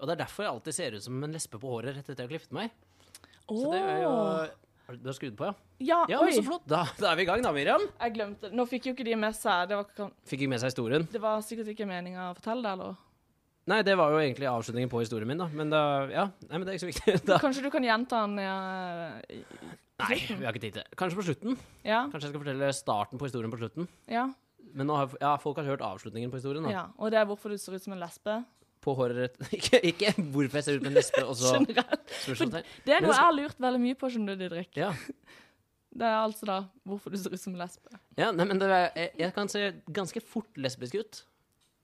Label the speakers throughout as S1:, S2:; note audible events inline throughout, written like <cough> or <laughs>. S1: Og det er derfor jeg alltid ser ut som en lesbe på håret rett etter jeg har klippet meg.
S2: Åh.
S1: Så det er jo Har Du du har skrudd på, ja?
S2: Ja,
S1: Ja, men
S2: oi.
S1: Så flott. Da, da er vi i gang, da, Miriam.
S2: Jeg glemte det. Nå fikk jo ikke de med seg Det var, ikke-
S1: Fikk ikke med seg historien.
S2: det var sikkert ikke meninga å fortelle det, eller?
S1: Nei, det var jo egentlig avslutningen på historien min, da. Men da Ja, nei, men det er ikke så viktig. <laughs> Da.
S2: Kanskje du kan gjenta den? Ja.
S1: Nei, vi har ikke tid til det. Kanskje på slutten.
S2: Ja.
S1: Kanskje jeg skal fortelle starten på historien på slutten.
S2: ja.
S1: Men nå har, ja, folk har hørt avslutningen på historien. Sånn, da.
S2: ja. Og det er hvorfor du ser ut som en lesbe?
S1: På håret rett <laughs> ikke, ikke hvorfor jeg ser ut som en lesbe, og så
S2: Generelt.
S1: spørsmålstegn.
S2: Det er
S1: Men
S2: noe
S1: så-
S2: jeg har lurt veldig mye på, skjønner du, Didrik.
S1: Ja.
S2: Det er altså da hvorfor du ser ut som en lesbe.
S1: ja, nei, men det er, jeg, jeg kan se ganske fort lesbisk ut.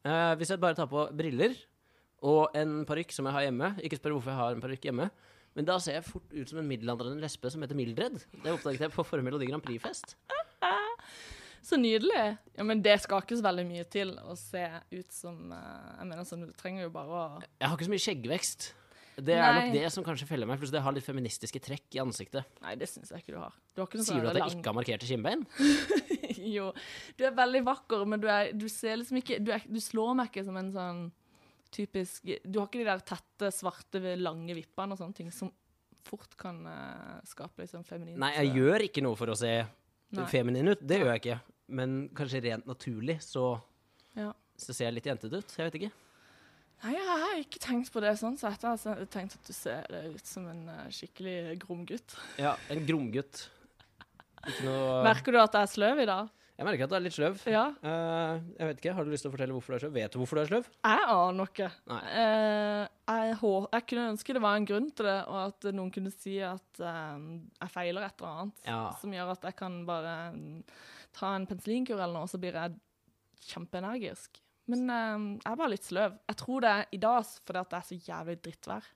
S1: Eh, hvis jeg bare tar på briller og en parykk som jeg har hjemme. Ikke spør hvorfor jeg har en parykk hjemme. Men da ser jeg fort ut som en middelaldrende lesbe som heter Mildred. Det oppdaget jeg på forrige Melodi Grand Prix-fest.
S2: Så nydelig. Ja, men det skal ikke så veldig mye til å se ut som eh, Jeg mener sånn, du trenger jo bare å
S1: Jeg har ikke så mye skjeggvekst. Det er
S2: Nei.
S1: nok det som kanskje feller meg. Plutselig jeg har litt feministiske trekk i ansiktet.
S2: Nei, det syns jeg ikke du har. Du har ikke noe sånn
S1: Sier du at jeg
S2: lang-
S1: ikke har markerte kinnbein?
S2: <laughs> Jo. Du er veldig vakker, men du, er, du ser liksom ikke du, er, du slår meg ikke som en sånn typisk Du har ikke de der tette, svarte, lange vippene og sånne ting som fort kan eh, skape litt sånn feminint
S1: Nei, jeg gjør ikke noe for å se
S2: Nei.
S1: feminin ut. Det gjør jeg ikke. Men kanskje rent naturlig så,
S2: Ja.
S1: så ser jeg litt jentete ut. Jeg vet ikke.
S2: Nei, jeg har ikke tenkt på det sånn sett. Jeg har sen- tenkt at du ser eh, ut som en eh, skikkelig grom gutt.
S1: Ja, En gromgutt. Ikke noe
S2: Merker du at jeg er sløv i dag?
S1: Jeg merker at du er litt sløv.
S2: Ja.
S1: Eh, jeg vet ikke, Har du lyst til å fortelle hvorfor du er sløv? Vet du hvorfor du er sløv?
S2: Jeg aner ikke.
S1: Nei.
S2: Eh, jeg, hå- jeg kunne ønske det var en grunn til det, og at noen kunne si at eh, jeg feiler et eller annet.
S1: Ja.
S2: Som gjør at jeg kan bare mm, ta en penicillinkur eller noe, og så blir jeg kjempeenergisk. Men eh, jeg er bare litt sløv. Jeg tror det er i dag s- fordi at det er så jævlig drittvær.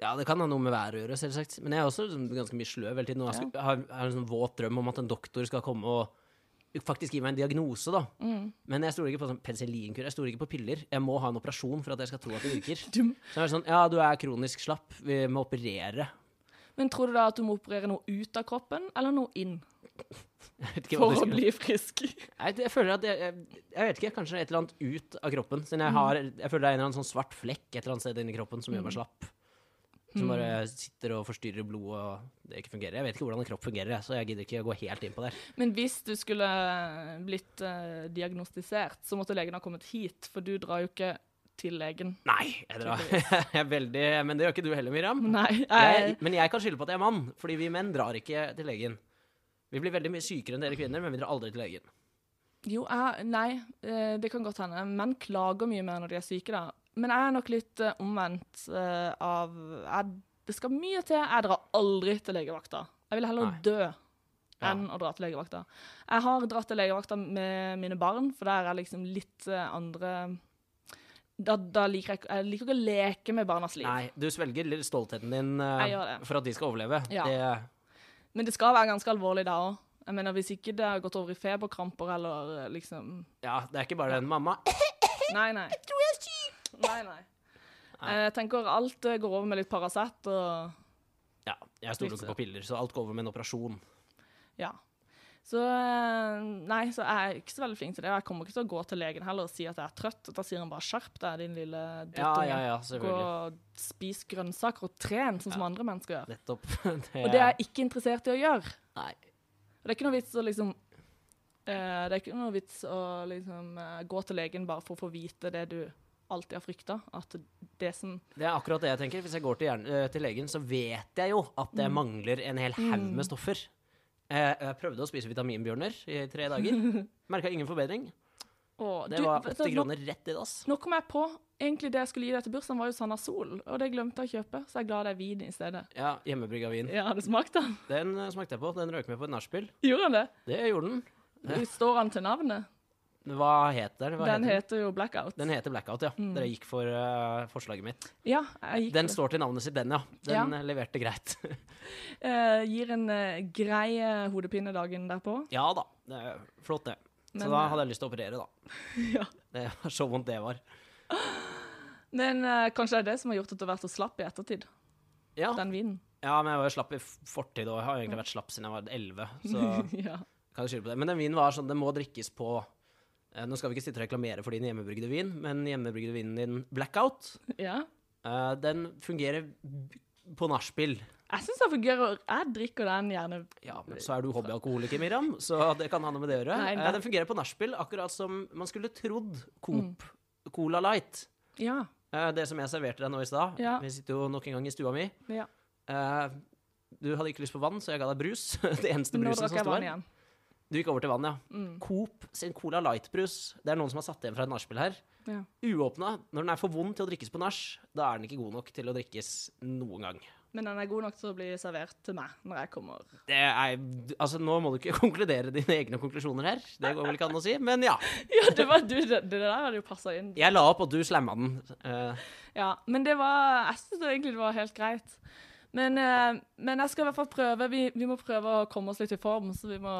S1: Ja, det kan ha noe med været å gjøre, selvsagt. Men jeg er også liksom ganske mye sløv hele tiden. Og jeg skal, jeg har, jeg har en sånn våt drøm om at en doktor skal komme og faktisk gi meg en diagnose, da. Men jeg stoler ikke på sånn penicillinkur. Jeg stoler ikke på piller. Jeg må ha en operasjon for at jeg skal tro at det <laughs> virker. Så
S2: Du-
S1: jeg er sånn, ja, du er kronisk slapp. Vi må operere.
S2: Men tror du da at du må operere noe ut av kroppen, eller noe inn?
S1: Jeg vet ikke hva
S2: For
S1: du
S2: å
S1: skal
S2: bli frisk.
S1: Nei, det- jeg føler at jeg, jeg, jeg vet ikke, kanskje et eller annet ut av kroppen. Siden
S2: Mm.
S1: jeg, har, jeg føler det er en eller annen sånn svart flekk et eller annet sted inni kroppen som gjør
S2: Mm.
S1: meg slapp. Som bare sitter og forstyrrer blodet og det ikke fungerer. Jeg vet ikke hvordan en kropp fungerer, jeg, så jeg gidder ikke å gå helt inn på det.
S2: Men hvis du skulle blitt eh, diagnostisert, så måtte legen ha kommet hit, for du drar jo ikke til legen. <laughs>
S1: Nei, jeg drar. <laughs> Jeg er veldig, men det gjør ikke du heller, Miriam.
S2: Mm. Nei,
S1: Jeg,
S2: jeg,
S1: men jeg kan skylde på at jeg er mann, fordi vi menn drar ikke til legen. Vi blir veldig mye sykere enn dere kvinner, men vi drar aldri til legen.
S2: jo, jeg, nei, eh, det kan godt hende. Menn klager mye mer når de er syke, da. Men jeg er nok litt eh, omvendt eh, av jeg, Det skal mye til. Jeg drar aldri til legevakta. Jeg vil heller
S1: Nei.
S2: dø enn å dra til legevakta. Jeg har dratt til legevakta med mine barn, for der er liksom litt eh, andre da, da liker jeg, ikke- jeg liker ikke å leke med barnas liv.
S1: Nei, du svelger litt stoltheten din
S2: Jeg
S1: eh,
S2: gjør det.
S1: for at de skal overleve.
S2: Ja.
S1: Det,
S2: Men det skal være ganske alvorlig da òg. Jeg mener, Hvis ikke det har gått over i feberkramper eller eh, liksom
S1: ja, det er ikke bare den mamma.
S2: Nei, nei. Jeg tror jeg er syk! Nei, nei. Jeg tenker alt eh, går over med litt Paracet og
S1: Ja, jeg stoler ikke på piller, så alt går over med en operasjon.
S2: ja. Så eh, nei, så jeg er ikke så veldig flink til det. Og jeg kommer ikke til å gå til legen heller og si at jeg er trøtt. Da sier han bare 'skjerp deg, din lille
S1: Ja,
S2: drittunge'.
S1: ja, ja,
S2: Gå
S1: selvfølgelig.
S2: og spis grønnsaker og tren, sånn som andre mennesker gjør.
S1: Nettopp. <laughs>
S2: Og det er jeg ikke interessert i å gjøre.
S1: Nei.
S2: Og det er ikke noe vits å liksom eh, Det er ikke noe vits å liksom eh, gå til legen bare for å få vite det du alltid har frykta. At det som
S1: Det er akkurat det jeg tenker. Hvis jeg går til, hjern- eh, til legen, så vet jeg jo at
S2: Mm.
S1: jeg mangler en hel haug med stoffer. Eh, Jeg prøvde å spise vitaminbjørner i tre
S2: <laughs>
S1: dager. Merka ingen forbedring.
S2: Å,
S1: Det
S2: du,
S1: var 80
S2: vet du, nå-
S1: kroner rett i dass.
S2: Nå kom jeg på egentlig det jeg skulle gi deg til bursdagen, var jo Sanna Sol, og det glemte jeg å kjøpe, så jeg er glad det er vin i stedet.
S1: Ja, hjemmebrygga vin.
S2: Ja, det smakte han.
S1: Den eh, smakte jeg på. Den røk med på et nachspiel.
S2: <laughs> Gjorde han det?
S1: Det gjorde den.
S2: Du står han til navnet?
S1: Hva heter den? Hva heter
S2: Den
S1: den?
S2: heter jo Blackout.
S1: den heter Blackout, ja. Dere gikk for eh, forslaget mitt.
S2: ja, jeg gikk
S1: Den står til navnet sitt, den, ja. Den
S2: Ja.
S1: eh, leverte greit.
S2: Eh, gir en eh, grei eh, hodepine dagen derpå.
S1: Ja da, det er flott det. Så
S2: Men,
S1: da
S2: eh,
S1: hadde jeg lyst til å operere, da.
S2: <laughs> Ja.
S1: Det var så vondt det var.
S2: Men eh, kanskje det er det som har gjort at du har vært så slapp i ettertid,
S1: Ja,
S2: den vinen.
S1: ja men jeg var jo slapp i f- fortid, og jeg har egentlig vært slapp siden jeg var 11. Så
S2: <laughs> ja.
S1: kan jeg skylde på det. Men den vinen var sånn, den må drikkes på eh, Nå skal vi ikke sitte og reklamere for din hjemmebrygde vin, men hjemmebrygde vinen din Blackout
S2: ja.
S1: Eh, den fungerer b- på nachspiel.
S2: Jeg syns det fungerer. Jeg drikker den gjerne.
S1: Ja, men så er du hobbyalkoholiker, Miriam, så det kan ha noe med det å gjøre.
S2: Nei, nei.
S1: Eh, den fungerer på nachspiel, akkurat som man skulle trodd Coop
S2: Mm.
S1: Cola Light.
S2: Ja.
S1: Eh, det som jeg serverte deg nå i stad.
S2: Ja.
S1: Vi sitter jo nok en gang i stua mi.
S2: ja.
S1: Eh, du hadde ikke lyst på vann, så jeg ga deg brus. <laughs> det eneste
S2: Nå
S1: brusen som
S2: drakk jeg
S1: sto
S2: vann
S1: her.
S2: igjen.
S1: Du gikk over til vann, ja.
S2: Mm.
S1: Coop sin Cola Light-brus. Det er noen som har satt igjen fra et nachspiel her.
S2: Ja.
S1: Uåpna. Når den er for vond til å drikkes på nach, da er den ikke god nok til å drikkes noen gang.
S2: Men den er god nok til å bli servert til meg når jeg kommer.
S1: Det er, altså, nå må du ikke <laughs> konkludere dine egne konklusjoner her, det går vel ikke an å si, men ja.
S2: <laughs> Ja, det, var, du, det, det der hadde jo passa inn.
S1: Jeg la opp, og du slamma den. Eh,
S2: Ja, men det var Jeg syns egentlig det var helt greit. Men, eh, men jeg skal i hvert fall prøve. Vi, vi må prøve å komme oss litt i form, så vi må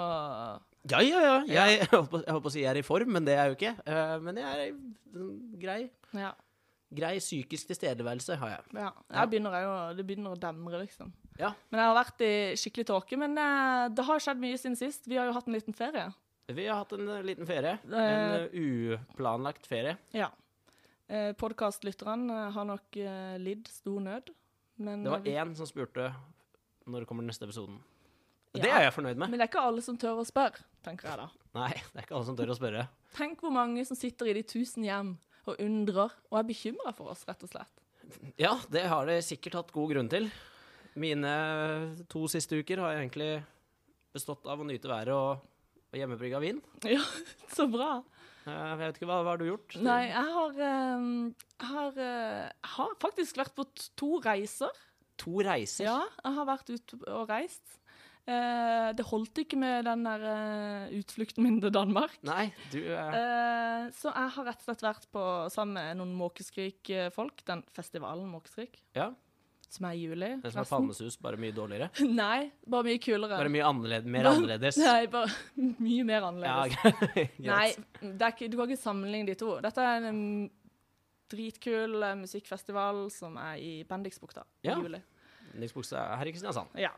S1: ja, ja, ja. <laughs> Jeg, jeg holdt på- jeg holdt på å si jeg er i form, men det er jeg jo ikke. Eh, men jeg er i sånn grei,
S2: Ja.
S1: grei psykisk tilstedeværelse, har jeg.
S2: ja.
S1: Ja.
S2: Jeg begynner, jeg, å- det begynner å demre, liksom.
S1: Ja.
S2: Men jeg har vært i skikkelig tåke. Men eh, det har skjedd mye siden sist. Vi har jo hatt en liten ferie.
S1: Vi har hatt en eh, liten ferie. En eh, uplanlagt ferie.
S2: Ja. Eh, Podkastlytterne eh, har nok eh, lidd stor nød. Men,
S1: Det
S2: eh,
S1: var
S2: vi,
S1: én som spurte når kommer den neste episoden. Og
S2: Ja.
S1: Det er jeg fornøyd med.
S2: men det er ikke alle som tør å spørre, tenker jeg da.
S1: Nei, det er ikke alle som tør å spørre.
S2: Tenk hvor mange som sitter i de tusen hjem og undrer og er bekymra for oss, rett og slett.
S1: Ja, det har de sikkert hatt god grunn til. Mine to siste uker har egentlig bestått av å nyte været og, og hjemmebrygga vin.
S2: Ja, så bra.
S1: Eh, Jeg vet ikke, hva, hva har du gjort?
S2: Nei, jeg har, eh, jeg har, eh, jeg har faktisk vært på t- to reiser.
S1: To reiser.
S2: Ja, jeg har vært ute og reist. Eh, det holdt ikke med den der eh, utflukten min til Danmark.
S1: Nei, du eh,
S2: Eh, så jeg har rett og slett vært på sammen med noen Måkeskrik-folk, den festivalen Måkeskrik,
S1: Ja.
S2: som er i juli.
S1: Den som er
S2: forresten.
S1: Palmesus, bare mye dårligere.
S2: <laughs> Nei, bare mye kulere.
S1: Bare mye annerledes, mer annerledes.
S2: <laughs> Nei, bare <laughs> mye mer
S1: Ja, <laughs>
S2: annerledes.
S1: greit.
S2: Nei, det er ikke, du kan ikke sammenligne de to. Dette er en mm, dritkul eh, musikkfestival som er i Bendiksbukta
S1: Ja.
S2: i juli.
S1: Yndlingsbuksa er her i Kristiansand.
S2: Ja.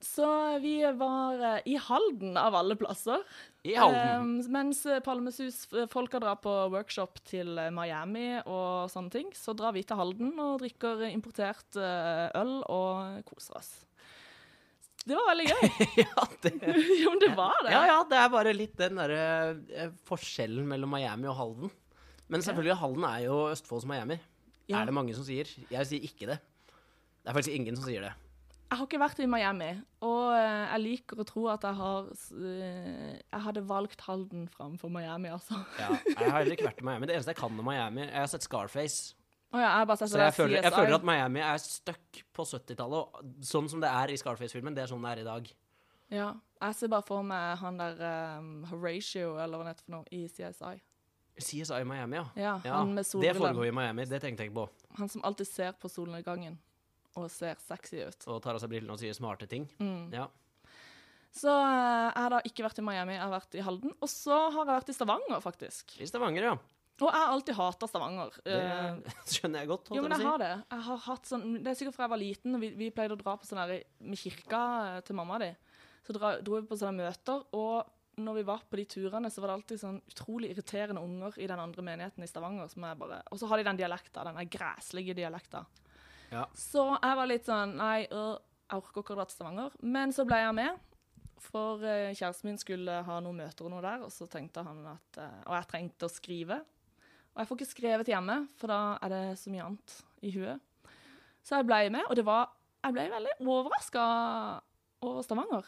S2: Så vi var eh, i Halden, av alle plasser.
S1: I Halden.
S2: Eh, mens Palmesus-folka drar på workshop til eh, Miami og sånne ting, så drar vi til Halden og drikker eh, importert eh, øl og koser oss. Det var veldig
S1: <laughs>
S2: gøy.
S1: <laughs>
S2: <laughs>
S1: ja, det
S2: jo, men det var det.
S1: Ja, ja, det er bare litt den derre eh, forskjellen mellom Miami og Halden. Men selvfølgelig, Halden er jo Østfolds Miami.
S2: Ja.
S1: Er det mange som sier? Jeg sier ikke det. Det er faktisk ingen som sier det.
S2: Jeg har ikke vært i Miami, og eh, jeg liker å tro at jeg har s- eh, Jeg hadde valgt Halden framfor Miami, altså. Å
S1: Ja, jeg har heller ikke vært i Miami. Det eneste jeg kan om Miami, jeg har sett Scarface.
S2: ja, jeg har bare sett
S1: Så
S2: det
S1: jeg
S2: der
S1: føler, jeg
S2: CSI.
S1: føler at Miami er stuck på 70-tallet. og Sånn som det er i Scarface-filmen, det er sånn det er i dag.
S2: Ja. Jeg ser bare for meg han der eh, Horatio, eller hva det heter for noe, i CSI.
S1: CSI i Miami, ja.
S2: Ja,
S1: ja
S2: han med
S1: det foregår
S2: solbrillen.
S1: i Miami, det tenkte jeg ikke på.
S2: Han som alltid ser på solnedgangen og ser sexy ut.
S1: Og tar av seg brillene og sier smarte ting. Ja.
S2: Så eh, jeg har da ikke vært i Miami, jeg har vært i Halden. Og så har jeg vært i Stavanger, faktisk.
S1: I Stavanger, ja.
S2: Og jeg har alltid hata Stavanger.
S1: Det
S2: Eh,
S1: <laughs> skjønner jeg godt. holdt
S2: Jo, men
S1: jeg på å si.
S2: jeg har det. Jeg har hatt sånn, det er sikkert fra jeg var liten, og vi, vi pleide å dra på sånn her med kirka eh, til mamma di. Så dra, dro vi på sånne møter, og når vi var på de turene, så var det alltid sånn utrolig irriterende unger i den andre menigheten i Stavanger. som jeg bare... Og så har de den dialekta, den der græslige dialekta.
S1: Ja.
S2: Så jeg var litt sånn Nei, øh, jeg orker ikke å dra til Stavanger. Men så ble jeg med. For eh, kjæresten min skulle ha noen møter og noe der, og så tenkte han at eh, Og jeg trengte å skrive. Og jeg får ikke skrevet hjemme, for da er det så mye annet i huet. Så jeg ble med, og det var Jeg ble veldig overraska over Stavanger.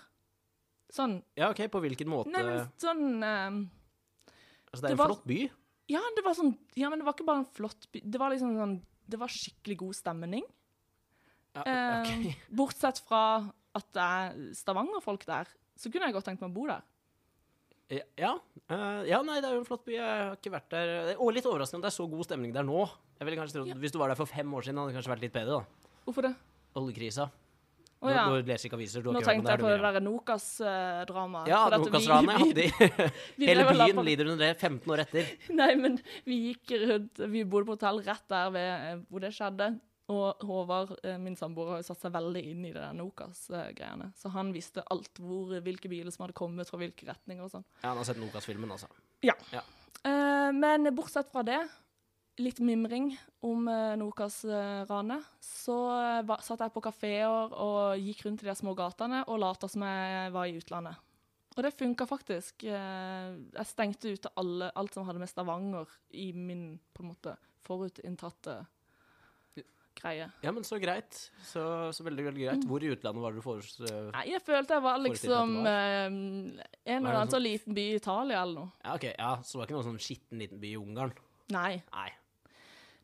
S2: Sånn.
S1: Ja, ok, på hvilken måte?
S2: Nei, men sånn eh,
S1: altså, det
S2: det
S1: er en
S2: var-
S1: flott by.
S2: Ja, det var sånn Ja, men det var ikke bare en flott by. Det var liksom sånn Det var skikkelig god stemning.
S1: Ja,
S2: Eh,
S1: ok.
S2: Bortsett fra at det er Stavanger-folk der, så kunne jeg godt tenkt meg å bo der.
S1: <laughs> ja, eh, ja, nei, det er jo en flott by. Jeg har ikke vært der Det er- Og litt overraskende at det er så god stemning der nå. Jeg ville kanskje trodd, Hvis du var der for fem år siden, hadde det kanskje vært litt bedre. da
S2: Hvorfor det?
S1: Oljekrisa.
S2: Å ja.
S1: Du, du leser ikke aviser. Du har
S2: Nå
S1: ikke hørt om
S2: tenkte
S1: det,
S2: jeg på det
S1: her, du, Miriam.
S2: der eh, Nokas-dramaet.
S1: Ja,
S2: <laughs>
S1: Nokas-ranet. de- Hele byen
S2: lider.
S1: lider under det 15 år etter.
S2: <laughs> Nei, men vi gikk rundt Vi bodde på hotell rett der ved, eh, hvor det skjedde. Og Håvard, eh, min samboer, har jo satt seg veldig inn i det der Nokas-greiene. Så han visste alt hvor, hvilke biler som hadde kommet fra hvilke retninger og sånn.
S1: Ja, han har sett Nokas-filmen, altså.
S2: Ja.
S1: Ja.
S2: Eh, men bortsett fra det litt mimring om eh, Nokas-ranet, så eh, va- satt jeg på kafeer og gikk rundt i de små gatene og lata som jeg var eh, i utlandet. Og det funka faktisk. Eh, Jeg stengte ute alle, alt som hadde med Stavanger i min på en måte forutinntatte greie.
S1: Ja, men så greit. Så, så veldig, veldig
S2: Mm.
S1: greit. Hvor i utlandet var det du foreslo
S2: Nei, jeg følte jeg var liksom
S1: Forutinntatte
S2: eh, en
S1: Var
S2: eller
S1: det
S2: annen
S1: sånn-
S2: sånn liten by i Italia eller noe.
S1: Ja, ok, ja, Så det var ikke noen sånn skitten liten by i Ungarn?
S2: Nei.
S1: Nei.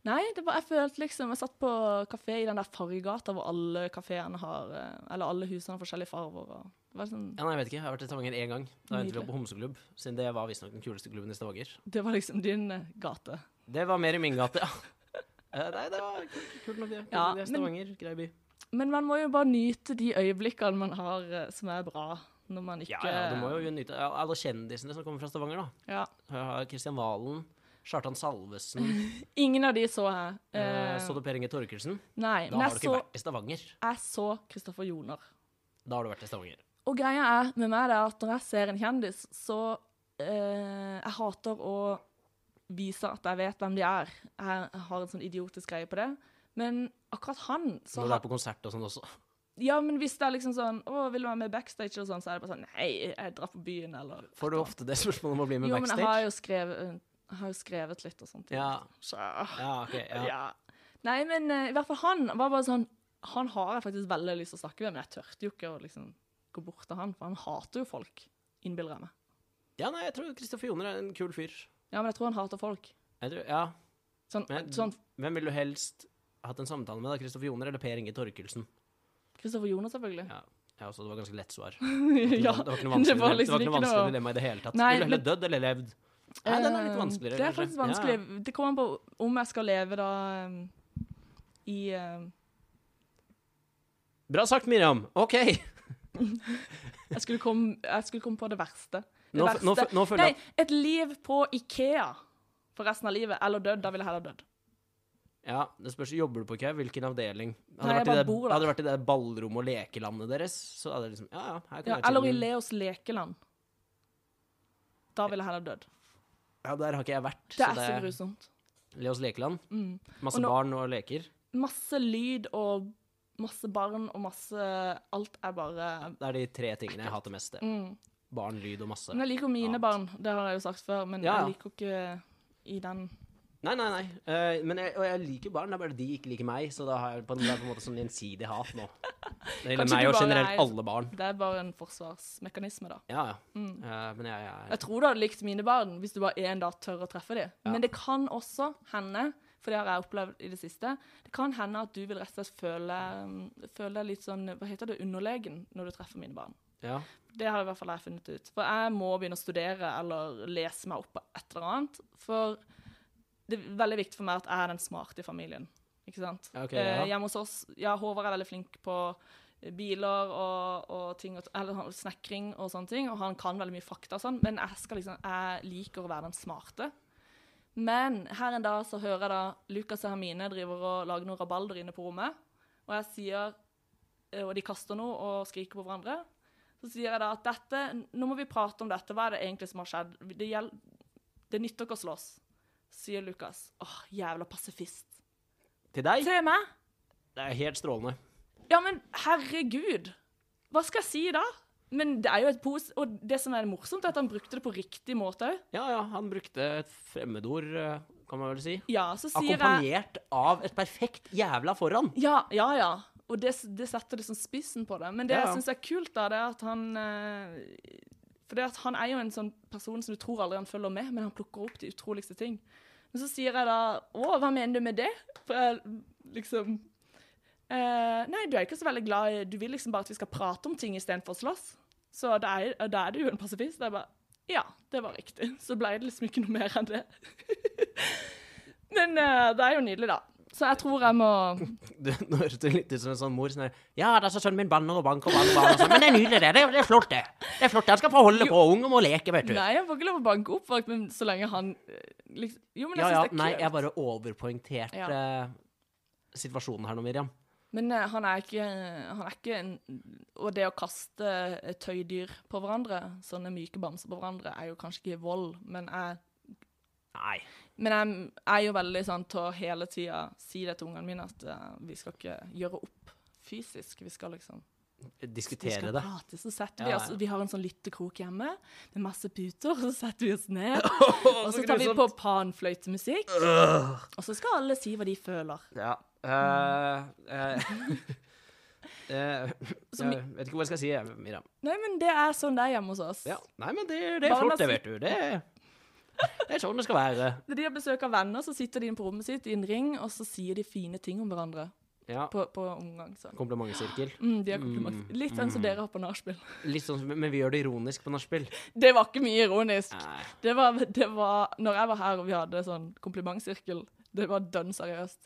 S2: Nei, det var, jeg følte liksom Jeg satt på kafé i den der fargegata hvor alle kafeene har eh, Eller alle husene har forskjellige farger. Og, det, var sånn,
S1: Ja, nei, jeg vet ikke. Jeg har vært i Stavanger én gang. Da endte vi opp
S2: Nydelig.
S1: på Homseklubb, siden det var visstnok den kuleste klubben i Stavanger.
S2: det var liksom din eh, gate.
S1: Det var mer i min gate, ja.
S2: <laughs>
S1: Eh, Nei, det var kult nok, det. Kult
S2: Ja,
S1: nok det.
S2: men-
S1: Stavanger, grei by.
S2: Men man må jo bare nyte de øyeblikkene man har eh, som er bra, når man ikke
S1: Ja, ja, du må
S2: Eh.
S1: jo nyte ja, alle kjendisene som kommer fra Stavanger, da.
S2: Ja.
S1: Jeg har Kristian Valen, Kjartan Salvesen,
S2: <laughs> Ingen av de så jeg.
S1: eh,
S2: Eh,
S1: så du Per Inge Torkelsen?
S2: nei,
S1: Da
S2: men
S1: har du
S2: jeg
S1: ikke
S2: så,
S1: vært i Stavanger.
S2: jeg så Kristoffer Joner.
S1: Da har du vært i Stavanger.
S2: Og greia er med meg det er at når jeg ser en kjendis, så eh, Jeg hater å vise at jeg vet hvem de er. Jeg har en sånn idiotisk greie på det. Men akkurat han så
S1: Når du
S2: har,
S1: er på konsert og sånn også.
S2: Ja, men hvis det er liksom sånn Å, vil du være med backstage og sånn, så er det bare sånn Nei, jeg drar på byen, eller
S1: Får du ofte det spørsmålet om å bli med
S2: Jo, men jeg
S1: backstage?
S2: har jo skrevet, jeg har jo skrevet litt og sånt.
S1: Ja,
S2: Så ah.
S1: ja, ok.
S2: ja.
S1: Ja.
S2: Nei, men eh, i hvert fall han var bare sånn Han har jeg faktisk veldig lyst til å snakke med, men jeg tørte jo ikke å liksom gå bort til han, for han hater jo folk, innbiller jeg meg.
S1: ja, nei, jeg tror Kristoffer Joner er en kul fyr.
S2: Ja, men jeg tror han hater folk.
S1: Jeg tror, ja.
S2: Sånn,
S1: Men-
S2: sånn
S1: Hvem ville du helst hatt en samtale med, da? Kristoffer Joner eller Per Inge Torkelsen?
S2: Kristoffer Jonas, selvfølgelig.
S1: Ja. Ja, så det var ganske lett svar.
S2: <laughs> ja,
S1: det var ikke noe vanskelig,
S2: det var
S1: det var
S2: liksom
S1: ikke noe
S2: ikke
S1: vanskelig
S2: noe-
S1: dilemma i det hele tatt.
S2: Nei,
S1: Ville du heller
S2: men-
S1: dødd eller levd? Nei, den er litt
S2: Eh,
S1: vanskeligere.
S2: Det er
S1: kanskje.
S2: faktisk
S1: Ja, ja.
S2: vanskelig. Det kommer an på om jeg skal leve da um, i um,
S1: Bra sagt, Miriam. OK.
S2: jeg, skulle komme, jeg skulle komme på det verste. Det
S1: Nå, f-
S2: verste.
S1: nå, f- nå føler
S2: Nei,
S1: jeg
S2: et liv på Ikea for resten av livet, eller dødd. Da ville jeg heller dødd.
S1: Ja, det spørs jobber du på IKEA. Hvilken avdeling? Hadde
S2: Nei,
S1: det
S2: jeg
S1: vært i
S2: bare
S1: det-
S2: bor der.
S1: Hadde det vært i det ballrommet og lekelandet deres, så hadde det liksom Ja, ja, her kan
S2: Ja,
S1: jeg
S2: eller i
S1: tjene-
S2: Leos lekeland. Da ville jeg heller dødd.
S1: Ja, der har ikke jeg vært.
S2: Det er så grusomt.
S1: Leos lekeland.
S2: Mm.
S1: Masse
S2: Og nå-
S1: barn og leker.
S2: Masse lyd og masse barn og masse Alt er bare
S1: Det er de tre tingene jeg hater mest. det.
S2: mm.
S1: Barn, lyd og masse.
S2: Men jeg liker jo mine
S1: annet.
S2: barn, det har jeg jo sagt før, men
S1: Ja, ja.
S2: jeg liker jo ikke i den
S1: Nei, nei, nei. Eh, men jeg, og jeg liker barn, det er bare de ikke liker meg. Så da har jeg på en, det er på en måte sånn gjensidig hat nå. Det
S2: Kanskje
S1: gjelder meg
S2: du
S1: og
S2: bare
S1: generelt
S2: er-
S1: alle barn.
S2: Det er bare en forsvarsmekanisme, da.
S1: Ja, ja.
S2: Mm.
S1: Eh, men jeg, jeg
S2: Jeg tror du hadde likt mine barn hvis du bare en dag tør å treffe dem.
S1: Ja.
S2: Men det kan også hende, for det har jeg opplevd i det siste, det kan hende at du vil rett og slett føle, føle deg litt sånn Hva heter det? Underlegen når du treffer mine barn.
S1: ja.
S2: Det har i hvert fall jeg funnet ut. For jeg må begynne å studere eller lese meg opp på et eller annet. For det er veldig viktig for meg at jeg er den smarte i familien. Ikke sant?
S1: Ja, ok, ja.
S2: Eh, hjemme hos oss Ja, Håvard er veldig flink på eh, biler og, og ting, og- eller han- snekring og sånne ting, og han kan veldig mye fakta og sånn, men jeg, skal liksom, jeg liker å være den smarte. Men her en dag så hører jeg da Lukas og Hermine driver og lager noen rabalder inne på rommet, og jeg sier eh, Og de kaster noe og skriker på hverandre. Så sier jeg da at dette, nå må vi prate om dette. Hva er det egentlig som har skjedd? Det, gjel- det nytter ikke å slåss, sier Lukas. Åh, jævla pasifist.
S1: Til deg?
S2: Se meg!
S1: Det er helt strålende.
S2: Ja, men herregud! Hva skal jeg si da? Men det er jo et pos... Og det som er morsomt, er at han brukte det på riktig måte òg.
S1: Ja, ja, han brukte et fremmedord, eh, kan man vel si.
S2: Ja, så sier jeg
S1: Akkompagnert av et perfekt jævla foran. <laughs>
S2: Ja, ja, ja. Og det, det setter liksom spissen på det. Men det
S1: Ja, ja.
S2: jeg syns er kult, da, det er at han eh, For det at han er jo en sånn person som du tror aldri han følger med, men han plukker opp de utroligste ting. Men så sier jeg da Å, hva mener du med det? For jeg liksom eh, Nei, du er ikke så veldig glad i Du vil liksom bare at vi skal prate om ting istedenfor å slåss. Så da er, da er du jo en pasifist. Da er jeg bare Ja, det var riktig. <laughs> Så ble det liksom ikke noe mer enn det. <laughs> men eh, det er jo nydelig, da. Så jeg tror jeg må
S1: Du, nå høres du litt ut som en sånn mor sånn der Ja, det er så sønnen min banner og banker og banner, og banner og sånn. Men det er nydelig, det. Det er, det er flott, det. Det er flott. Han skal få holde på. Ung og må leke, vet du.
S2: Nei, jeg får ikke lov å banke opp folk, men så lenge han eh, liksom, Jo,
S1: Ja,
S2: men jeg
S1: ja.
S2: synes syns det
S1: Nei,
S2: er kult.
S1: jeg bare overpoengterte
S2: Ja.
S1: eh, situasjonen her nå, Miriam.
S2: Men eh, han, er ikke, han er ikke en Og det å kaste eh, tøydyr på hverandre, sånne myke bamser på hverandre, er jo kanskje ikke vold, men jeg
S1: Nei.
S2: Men jeg er jo veldig sånn til å hele tida si det til ungene mine, at eh, vi skal ikke gjøre opp fysisk. Vi skal liksom vi
S1: Diskutere
S2: skal
S1: det. <laughs>
S2: prate, så
S1: Ja,
S2: setter vi
S1: ja.
S2: oss Vi har en sånn lyttekrok hjemme med masse puter, <laughs> og så setter vi oss ned. og så
S1: så sånn
S2: tar vi på
S1: grusomt.
S2: panfløytemusikk, og så skal alle si hva de føler.
S1: Ja. eh, eh, <laughs> eh,
S2: Som-
S1: jeg vet ikke hva jeg skal si, jeg, Mira.
S2: Nei, men det er sånn det er hjemme hos oss.
S1: Ja. Nei, men det, det er
S2: Barna
S1: flott, det,
S2: sier-
S1: vet du. Det, det er sånn det skal være.
S2: Når de har besøk av venner, så sitter de inne på rommet sitt i en ring, og så sier de fine ting om hverandre
S1: Ja.
S2: på, på omgang. Sånn.
S1: Komplimentsirkel.
S2: Mm, de har kompliment.
S1: Mm,
S2: Litt sånn som
S1: mm.
S2: dere har på nachspiel. <laughs>
S1: Litt sånn, som- men vi gjør det ironisk på nachspiel.
S2: Det var ikke mye ironisk.
S1: Nei.
S2: Det var, det var Når jeg var her og vi hadde sånn komplimentsirkel, det var dønn seriøst.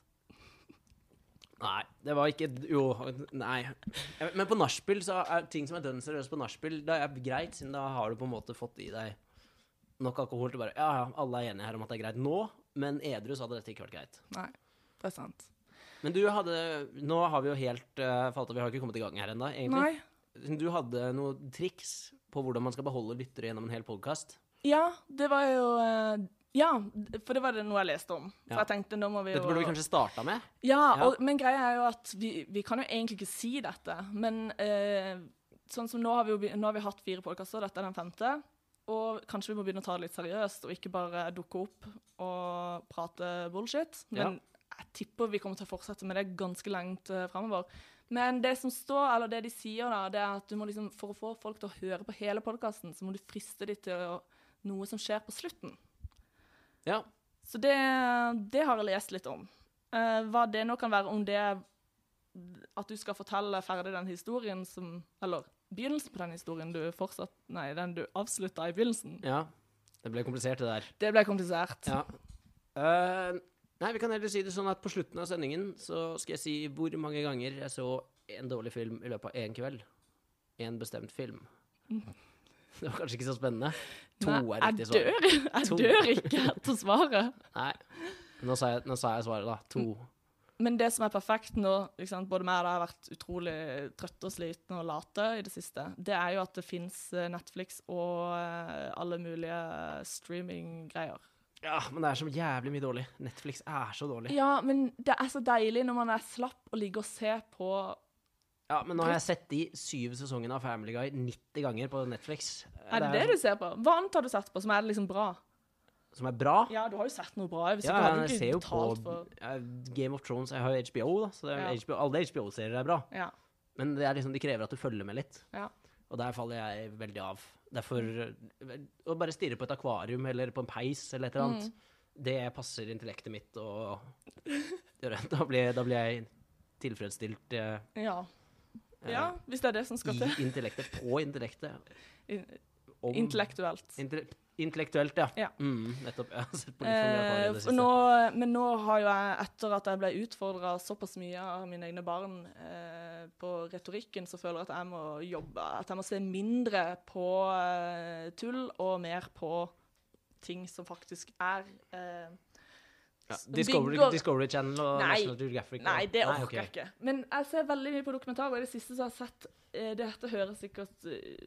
S1: Nei, det var ikke Jo, nei. Jeg- Men på nachspiel så er ting som er dønn seriøst på nachspiel, det er greit, siden da har du på en måte fått i deg nok alkohol til bare Ja, ja, alle er enige her om at det er greit nå, men edru så hadde dette ikke vært greit.
S2: Nei, det er sant.
S1: Men du hadde Nå har vi jo helt eh, falt av, vi har ikke kommet i gang her ennå, egentlig.
S2: Nei.
S1: Du hadde noen triks på hvordan man skal beholde lyttere gjennom en hel podkast.
S2: Ja, det var jo eh, Ja, for det var det noe jeg leste om. For
S1: Ja.
S2: jeg tenkte, nå må vi jo
S1: Dette burde vi kanskje starta med.
S2: Ja,
S1: Ja.
S2: Og, men greia er jo at vi, vi kan jo egentlig ikke si dette, men eh, sånn som nå har vi jo be- nå har vi hatt fire podkaster, dette er den femte. Og kanskje vi må begynne å ta det litt seriøst, og ikke bare dukke opp og prate bullshit. Men jeg tipper vi kommer til å fortsette med det ganske langt uh, framover. Men det som står, eller det de sier, da, det er at du må liksom, for å få folk til å høre på hele podkasten, så må du friste dem til å, noe som skjer på slutten.
S1: Ja.
S2: Så det, det har jeg lest litt om. Eh, hva det nå kan være om det er at du skal fortelle ferdig den historien som Eller begynnelsen på den historien du fortsatt Nei, den du avslutta i begynnelsen.
S1: ja. Det ble komplisert, det der.
S2: Det ble komplisert.
S1: Ja. Eh, nei, vi kan heller si det sånn at på slutten av sendingen så skal jeg si hvor mange ganger jeg så en dårlig film i løpet av én kveld. En bestemt film. Det var kanskje ikke så spennende. To
S2: Mm. Nei,
S1: er riktig
S2: jeg
S1: svar.
S2: dør, jeg
S1: To.
S2: dør ikke etter svaret.
S1: Nei. Nå sa, jeg, nå sa jeg svaret, da. To.
S2: Mm. Men det som er perfekt nå, ikke sant? både meg og deg har vært utrolig trøtte og slitne og late i det siste, det er jo at det fins Netflix og eh, alle mulige streaminggreier.
S1: Ja, Men det er så jævlig mye dårlig. Netflix er så dårlig.
S2: Ja, men det er så deilig når man er slapp og ligger og ser på
S1: Ja, Men nå har jeg sett de syv sesongene av Family Guy 90 ganger på Netflix. Eh,
S2: Er det det du ser på? Hva annet har du sett på som er liksom bra?
S1: Som er bra.
S2: Ja, du har jo sett noe bra. Hvis
S1: Ja,
S2: ikke hadde
S1: jeg
S2: du
S1: ser
S2: ikke
S1: jo på
S2: betalt for
S1: eh, Game of Thrones. Jeg har jo HBO, da. Så det er
S2: Ja.
S1: HBO, alle HBO-serier er bra.
S2: Ja.
S1: Men det er liksom, de krever at du følger med litt.
S2: Ja.
S1: Og der faller jeg veldig av. Derfor eh, Å bare stirre på et akvarium eller på en peis eller et eller annet,
S2: Mm.
S1: det passer intellektet mitt og Da blir, da blir jeg tilfredsstilt eh,
S2: Ja. ja, hvis det er det som skal
S1: i
S2: til.
S1: intellektet, på intellektet.
S2: In-
S1: Om
S2: Intellektuelt.
S1: intell- Intellektuelt, ja.
S2: Ja.
S1: Mm, nettopp. Jeg har sett på litt for mye akvarium i
S2: Eh,
S1: det
S2: for
S1: siste.
S2: nå, men nå har jo jeg, etter at jeg ble utfordra såpass mye av mine egne barn eh, på retorikken, så føler jeg at jeg må jobbe At jeg må se mindre på eh, tull og mer på ting som faktisk er eh,
S1: ja,
S2: s-
S1: Discovery,
S2: bygger-
S1: Discovery Channel og
S2: Nei.
S1: National Geographic. og-
S2: Nei, det orker
S1: ok.
S2: jeg ikke. Men jeg ser veldig mye på dokumentarer. og I det siste så har jeg sett eh, Dette høres sikkert eh,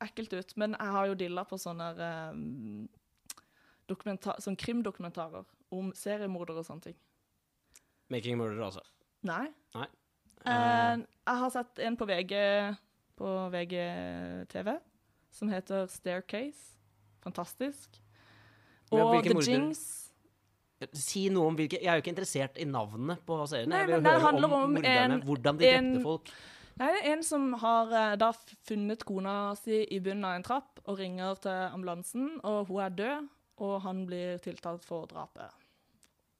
S2: ekkelt ut, men jeg har jo dilla på sånne eh, dokumenta- sånn krimdokumentarer om seriemordere og sånne ting.
S1: Making a Murderer, altså.
S2: Nei.
S1: Nei.
S2: Eh, jeg har sett en på VG på VGTV som heter 'Staircase'. Fantastisk.
S1: Men
S2: Og
S1: hvilke
S2: The
S1: mordere?
S2: Jinx.
S1: Si noe om hvilke Jeg er jo ikke interessert i navnene på seriene.
S2: Nei,
S1: jeg vil
S2: men det
S1: høre
S2: handler om
S1: morderne,
S2: en-
S1: hvordan de
S2: en-
S1: drepte folk.
S2: Nei, det er en som har eh, da funnet kona si i bunnen av en trapp og ringer til ambulansen, og hun er død, og han blir tiltalt for drapet.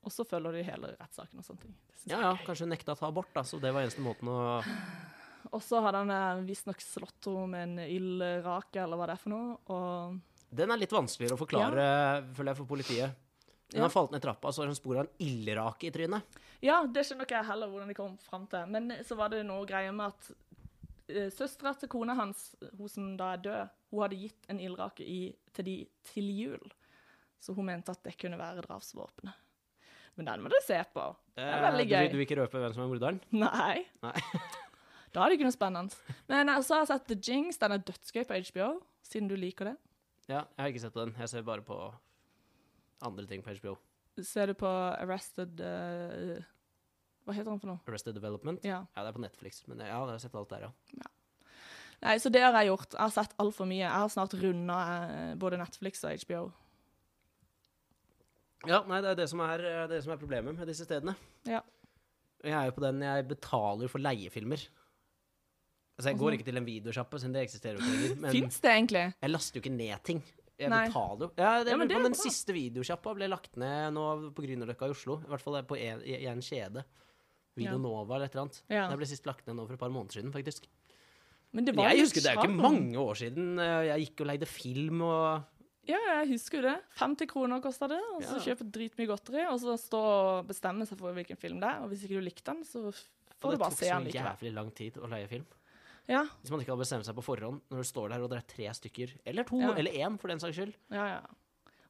S2: Og så følger de hele rettssaken og sånne ting. Det synes
S1: Ja,
S2: jeg
S1: ja,
S2: er gøy.
S1: kanskje hun nekta å ta abort, da, så det var eneste måten å
S2: Og så hadde han eh, visstnok slått henne med en ildrake, eller hva det er for noe, og
S1: Den er litt vanskeligere å forklare, føler jeg, for politiet. Hun har
S2: Ja.
S1: falt ned trappa, så har hun spor av en ildrake i trynet.
S2: Ja, det skjønner ikke jeg heller hvordan de kom fram til. Men så var det noe greier med at uh, søstera til kona hans, hun som da er død, hun hadde gitt en ildrake i, til de til jul. Så hun mente at det kunne være drapsvåpenet. Men den må du se på. Det er
S1: Eh,
S2: veldig gøy.
S1: Du, du vil ikke røpe hvem som er morderen?
S2: Nei.
S1: Nei.
S2: <laughs> da er det ikke noe spennende. Men jeg så har jeg sett The Jinx. Den er dødsgøy på HBO, siden du liker det.
S1: Ja, jeg har ikke sett den. Jeg ser bare på andre ting på HBO.
S2: Ser du på Arrested eh, Hva heter han for noe?
S1: Arrested Development.
S2: Ja.
S1: Ja, det er på Netflix, men ja, jeg har sett alt der, ja.
S2: Nei, så det har jeg gjort. Jeg har sett altfor mye. Jeg har snart runda eh, både Netflix og HBO.
S1: Ja, nei, det er det som er, eh, det som er problemet med disse stedene.
S2: Ja.
S1: Og Jeg er jo på den jeg betaler for leiefilmer. Altså, jeg
S2: Og
S1: går
S2: sånn.
S1: ikke til en videosjappe, siden det eksisterer jo ikke lenger. Men
S2: Fins det egentlig?
S1: jeg laster jo ikke ned ting. Jeg
S2: Nei.
S1: betaler jo. Ja, det,
S2: Ja, men
S1: men
S2: det er
S1: den
S2: bra.
S1: siste videosjappa ble lagt ned nå på Grünerløkka i Oslo. I hvert fall på en, i, i en kjede.
S2: Ja.
S1: Videonova eller et eller annet.
S2: Ja.
S1: Den ble sist lagt ned nå for et par måneder siden, faktisk.
S2: Men det
S1: Men
S2: var
S1: jeg
S2: jo
S1: husker det er jo
S2: sjarm.
S1: ikke mange år siden eh, jeg gikk og leide film og
S2: Ja, jeg husker jo det. 50 kroner kosta det, og så
S1: Ja.
S2: kjøpe dritmye godteri, og så stå og bestemme seg for hvilken film det er, og hvis ikke du likte den, så f-
S1: Og
S2: får
S1: det
S2: du bare
S1: tok
S2: se
S1: så
S2: den likevel.
S1: jævlig lang tid å leie film.
S2: Ja,
S1: Hvis man ikke hadde bestemt seg på forhånd, når du står der og det er tre stykker, eller to,
S2: Ja.
S1: eller én for den saks skyld.
S2: ja, ja.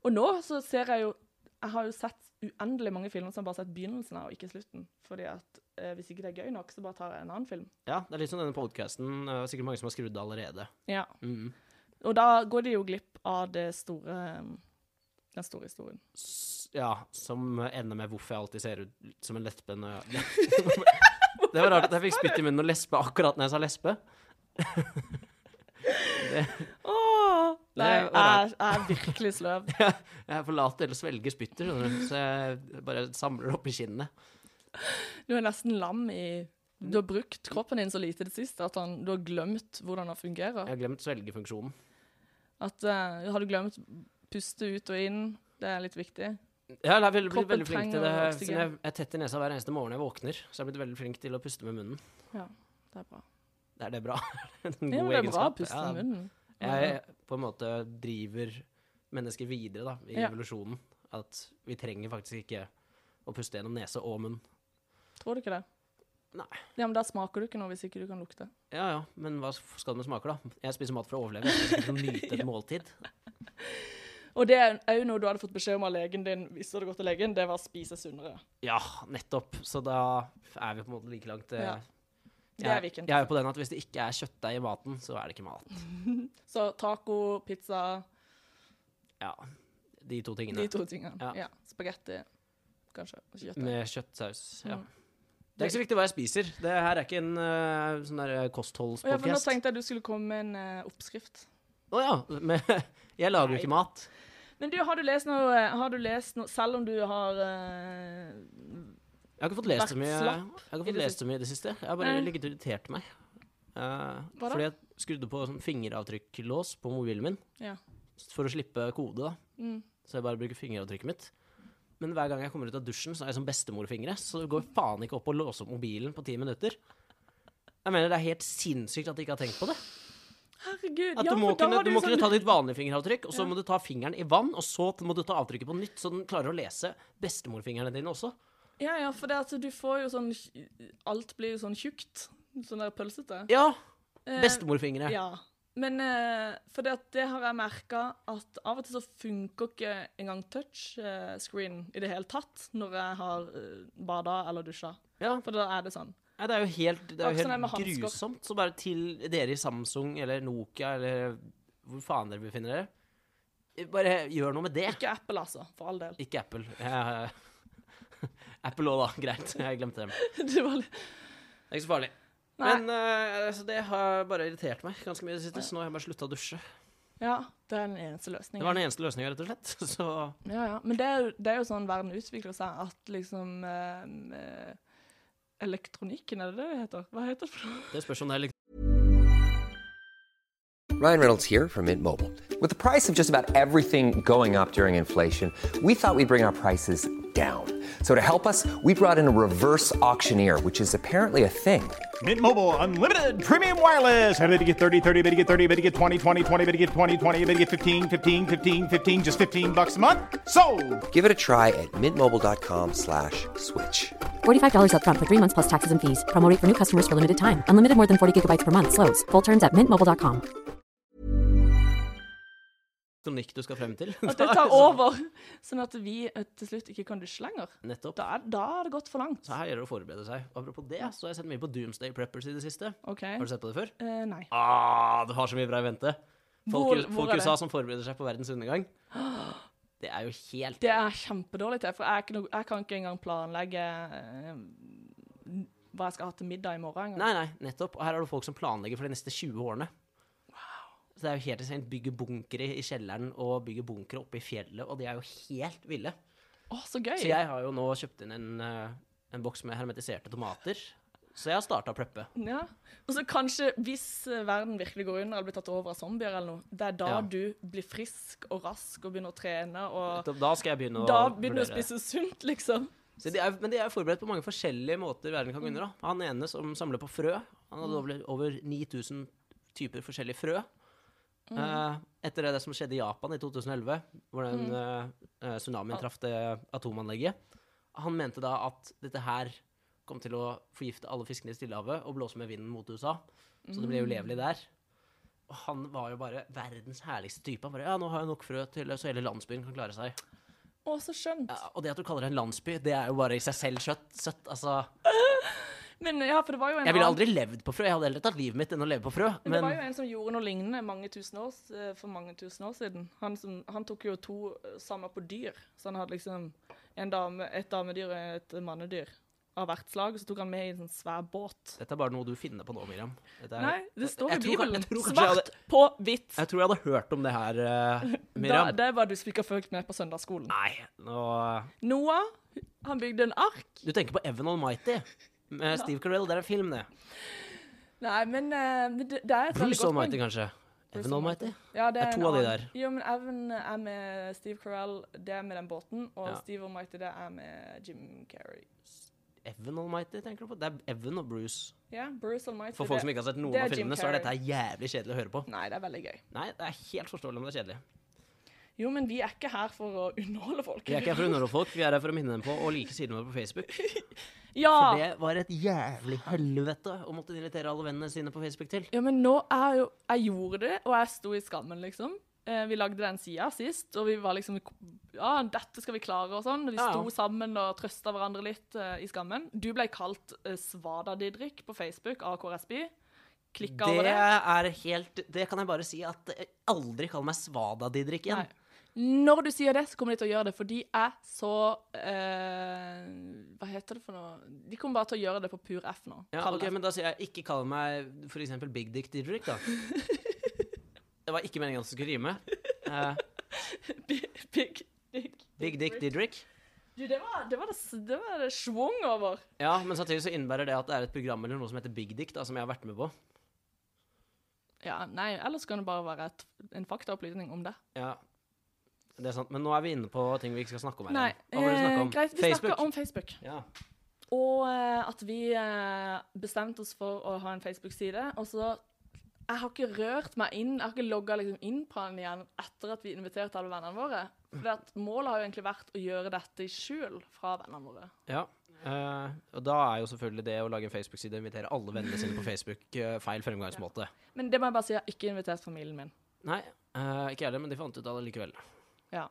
S2: Og nå så ser jeg jo Jeg har jo sett uendelig mange filmer som jeg bare har sett begynnelsen av, og ikke slutten. Fordi at eh, hvis ikke det er gøy nok, så bare tar jeg en annen film.
S1: Ja, det er litt som denne podkasten. Sikkert mange som har skrudd av allerede.
S2: Ja.
S1: Mhm.
S2: Og da går de jo glipp av det store um, den store historien.
S1: S- Ja, som ender med hvorfor jeg alltid ser ut som en lesbe når
S2: <laughs>
S1: jeg <laughs> Det var rart at jeg fikk spytt i munnen og lesbe akkurat når jeg sa lesbe.
S2: Åh! Nei,
S1: Det var
S2: jeg, jeg er virkelig sløv.
S1: Jeg forlater eller svelger spyttet, skjønner du. Så jeg bare samler det opp i kinnet.
S2: Du er nesten lam i Du har brukt kroppen din så lite i det siste at han, du har glemt hvordan han fungerer.
S1: Jeg har glemt svelgefunksjonen.
S2: At eh, Har du glemt puste ut og inn? Det er litt viktig.
S1: Ja, jeg er veldig, blitt
S2: Kroppen
S1: veldig flink til det.
S2: trenger
S1: Siden jeg jeg er tett i nesa hver eneste morgen jeg våkner, så jeg har blitt veldig flink til å puste med munnen.
S2: Det er bra.
S1: Er det bra? <laughs> En god
S2: Ja, men det er bra å
S1: egenskap.
S2: puste
S1: Ja,
S2: i munnen.
S1: Jeg på en måte driver mennesker videre da, i
S2: Ja.
S1: evolusjonen. At vi trenger faktisk ikke å puste gjennom nese og munn.
S2: Tror du ikke det?
S1: Nei.
S2: Ja, men Da smaker du ikke noe hvis ikke du kan lukte.
S1: Ja ja, men hva skal det med smaker, da? Jeg spiser mat for å overleve. Jeg skal ikke nyte <laughs> et måltid.
S2: Og det er òg noe du hadde fått beskjed om av legen din hvis du hadde gått til legen, det var å spise sunnere.
S1: Ja, nettopp. Så da er vi på en måte like langt. eh,
S2: Ja. Det er
S1: Jeg,
S2: Viken.
S1: jeg er jo på den at hvis det ikke er kjøttdeig i maten, så er det ikke mat.
S2: Så taco, pizza,
S1: Ja, De to tingene.
S2: de to tingene.
S1: Ja.
S2: Ja. Spagetti, kanskje. og Kjøtt.
S1: Med kjøttsaus. Ja.
S2: Mm.
S1: Det er ikke så viktig hva jeg spiser. Det her er ikke en eh, sånn der eh,
S2: Å ja, for nå
S1: kostholdspodcast.
S2: tenkte jeg du skulle komme med en eh, oppskrift.
S1: Å ja. Men <laughs> jeg lager jo ikke mat.
S2: Men du, har du lest noe, eh, har du lest noe Selv om du har eh,
S1: Jeg har ikke fått lest så mye
S2: Vært
S1: Jeg
S2: slapp
S1: har ikke
S2: i
S1: fått
S2: det
S1: lest så mye i det siste. Jeg har bare
S2: Nei.
S1: ligget og irritert meg. Eh,
S2: Hva da?
S1: fordi jeg skrudde på sånn fingeravtrykklås på mobilen min
S2: Ja.
S1: for å slippe kode. da
S2: Mm.
S1: Så jeg bare bruker fingeravtrykket mitt. Men hver gang jeg kommer ut av dusjen, så er jeg som bestemorfingre. Så det går faen ikke opp å låse opp mobilen på ti minutter. Jeg mener Det er helt sinnssykt at de ikke har tenkt på det.
S2: Herregud.
S1: At
S2: ja,
S1: du må
S2: for da
S1: kunne,
S2: har
S1: du
S2: du
S1: må
S2: sånn
S1: kunne ta ditt vanlige fingeravtrykk, og så
S2: Ja.
S1: må du ta fingeren i vann, og så må du ta avtrykket på nytt, så den klarer å lese bestemorfingrene dine også.
S2: Ja, ja, for det at du får jo sånn Alt blir jo sånn tjukt. Sånn der pølsete.
S1: Ja!
S2: Eh,
S1: Bestemorfingre.
S2: Ja. Men eh, for det at det har jeg merka at av og til så funker ikke engang touchscreen i det hele tatt når jeg har eh, bada eller dusja.
S1: Ja.
S2: For da er det sånn.
S1: Nei, det er jo helt, det er
S2: Akkurat
S1: jo
S2: som det er med
S1: helt
S2: hansker.
S1: grusomt. Så bare til dere i Samsung eller Nokia eller hvor faen dere befinner dere, bare gjør noe med det.
S2: Ikke Apple, altså. For all del.
S1: Ikke Apple. <laughs> Jeg, Apple òg, da. Greit. Jeg glemte dem. Det
S2: <laughs> Det var litt...
S1: er ikke så farlig.
S2: Nei.
S1: Men eh, altså, det har bare irritert meg ganske mye i det siste, så nå har jeg bare slutta å dusje.
S2: Ja, det er den eneste løsningen.
S1: Det var den eneste løsninga, rett og slett. <laughs> Så
S2: Ja, ja. Men det er, jo, det er jo sånn verden utvikler seg, at liksom eh, eh, Elektronikken, er det det det heter? Hva heter det for <laughs> noe?
S1: det spørs om det er litt
S3: Ryan Reynolds here from Mint Mobile. With the price of just about everything going up during inflation, we thought we'd bring our prices down. So to help us, we brought in a reverse auctioneer, which is apparently a thing.
S4: Mint Mobile unlimited premium wireless. Ready to get 30, 30, bet you get 30, bet you get 20, 20, 20, bet you get 20, 20, bet you get 15, 15, 15, 15 just 15 bucks a month. So,
S3: Give it a try at mintmobile.com slash switch.
S5: $45 upfront for three months plus taxes and fees. Promo rate for new customers for limited time. Unlimited more than 40 gigabytes per month. Slows. Full terms at mintmobile.com.
S1: kronikk du skal frem til.
S2: At det
S1: <laughs>
S2: tar over, sånn at vi eh, til slutt ikke kan dusje lenger.
S1: Nettopp.
S2: Da er, da er det gått for langt.
S1: Så her gjelder det å forberede seg. Og Apropos det, så har jeg sett mye på Doomsday Preppers i det siste.
S2: OK.
S1: Har du sett på det før?
S2: Eh, nei.
S1: Ah, du har så mye bra i vente. Folk,
S2: Hvor- hvor
S1: folk
S2: er
S1: i
S2: det?
S1: USA som forbereder seg på verdens undergang. Det er jo helt
S2: Det er kjempedårlig til, for jeg, er ikke noe, jeg kan ikke engang planlegge eh, hva jeg skal ha til middag i morgen. engang.
S1: Nei, nei, nettopp. Og her har du folk som planlegger for de neste 20 årene. Så det er jo helt insane. Bygge bunkere i kjelleren og bygge bunkere oppe i fjellet, og de er jo helt ville.
S2: Å, så gøy!
S1: Så jeg har jo nå kjøpt inn en, eh, en boks med hermetiserte tomater. Så jeg har starta å preppe.
S2: Ja. Og så kanskje, hvis eh, verden virkelig går under eller blir tatt over av zombier, eller noe, det er da
S1: Ja.
S2: du blir frisk og rask og begynner å trene, og
S1: Da skal jeg begynne å
S2: da begynner du å
S1: vurdere.
S2: spise sunt, liksom.
S1: Så de er, men de er forberedt på mange forskjellige måter verden kan gå under. da. Han ene som samler på frø, han hadde over, over 9000 typer forskjellige frø. Eh, etter det som skjedde i Japan i 2011, hvor den eh, eh, tsunamien traff det atomanlegget. Han mente da at dette her kom til å forgifte alle fiskene i Stillehavet og blåse med vinden mot USA. Så det ble ulevelig der. Og han var jo bare verdens herligste type. Han bare, ja, nå har jeg nok frø til så hele landsbyen kan klare seg.
S2: Å, så skjønt.
S1: Ja, og det at du kaller det en landsby, det er jo bare i seg selv søtt. søtt altså.
S2: Men ja, for det var jo en
S1: Jeg ville
S2: annen-
S1: aldri levd på frø. Jeg hadde heller tatt livet mitt enn å leve på frø. Men
S2: Men det var jo en som gjorde noe lignende mange tusen år, s- eh, for mange tusen år siden. Han, som, han tok jo to eh, sammen på dyr. Så han hadde liksom en dame, et damedyr og et mannedyr av hvert slag. Så tok han med i en sånn svær båt.
S1: dette er bare noe du finner på nå, Miriam. Dette er-
S2: Nei, det står i
S1: Jeg tror kan-
S2: Bibelen.
S1: jeg tror kanskje jeg
S2: Svart på hvitt.
S1: Jeg tror jeg hadde hørt om det her, eh,
S2: <laughs> Da,
S1: Miriam.
S2: det var du som ikke har fulgt med på søndagsskolen.
S1: Nei, nå
S2: Noah, han bygde en ark.
S1: Du tenker på Evan Almighty med Steve Carell. Det er en film, det.
S2: Nei, men eh, men det, det er et veldig
S1: Bruce
S2: godt poeng.
S1: Almighty, kanskje.
S2: Bruce
S1: Evan Almighty.
S2: Ja, det
S1: Det er
S2: er, en
S1: to av de
S2: annen-
S1: der.
S2: Jo, men Evan er med Steve Carell, det er med den båten. Og
S1: Ja.
S2: Steve Almighty, det er med Jim Carrey.
S1: Evan Almighty, tenker du på? Det er Evan og Bruce.
S2: Ja, Bruce Almighty.
S1: For folk som ikke har sett noen
S2: det
S1: av
S2: er Jim
S1: filmene, så er dette
S2: Carrey.
S1: her jævlig kjedelig å høre på.
S2: Nei, det er veldig gøy.
S1: Nei, det er helt forståelig om det er kjedelig.
S2: Jo, men vi er ikke her for å <laughs> underholde folk.
S1: Vi er ikke her for å underholde folk, vi er her for å minne dem på å like sidene våre på Facebook. For
S2: Ja!
S1: det var et jævlig helvete å måtte invitere alle vennene sine på Facebook til.
S2: ja, men nå er jo Jeg gjorde det, og jeg sto i skammen, liksom. Eh, vi lagde den sida sist, og vi var liksom Ja, dette skal vi klare, og sånn. Vi
S1: Ja, ja.
S2: sto sammen og trøsta hverandre litt eh, i skammen. Du ble kalt eh, Svada-Didrik på Facebook av KRSB. Klikka over
S1: Det
S2: det.
S1: er helt Det kan jeg bare si at jeg aldri kall meg Svada-Didrik igjen.
S2: Nei. Når du sier det, så kommer de til å gjøre det, for de er så eh, Hva heter det for noe De kommer bare til å gjøre det på pur F nå.
S1: Ja,
S2: Kall
S1: ok,
S2: det.
S1: Men da sier jeg ikke kall meg for eksempel Big Dick Didrik, da. Det var ikke meningen at det skulle rime. Eh,
S2: <laughs> Big, big, big.
S1: Big Dick Didrik.
S2: Du, det var det, var det, s- det, var det schwung over.
S1: Ja, men samtidig så innebærer det at det er et program eller noe som heter Big Dick, da, som jeg har vært med på.
S2: Ja, nei, ellers kan det bare være et, en faktaopplysning om det.
S1: Ja, det er sant. Men nå er vi inne på ting vi ikke skal snakke om her.
S2: Nei,
S1: igjen. Hva var det du snakket
S2: eh,
S1: om?
S2: greit, vi
S1: Facebook?
S2: snakker om Facebook.
S1: Ja.
S2: Og eh, at vi eh, bestemte oss for å ha en Facebook-side. Og så Jeg har ikke rørt meg inn, jeg har ikke logga liksom inn på den igjen etter at vi inviterte alle vennene våre. For at målet har jo egentlig vært å gjøre dette i skjul fra vennene våre.
S1: Ja. eh, og da er jo selvfølgelig det å lage en Facebook-side og invitere alle vennene sine på Facebook eh, feil fremgangsmåte.
S2: Men det må jeg bare si, jeg har ikke invitert familien min.
S1: Nei, eh, ikke jeg heller, men de fant ut av det likevel.
S2: Ja.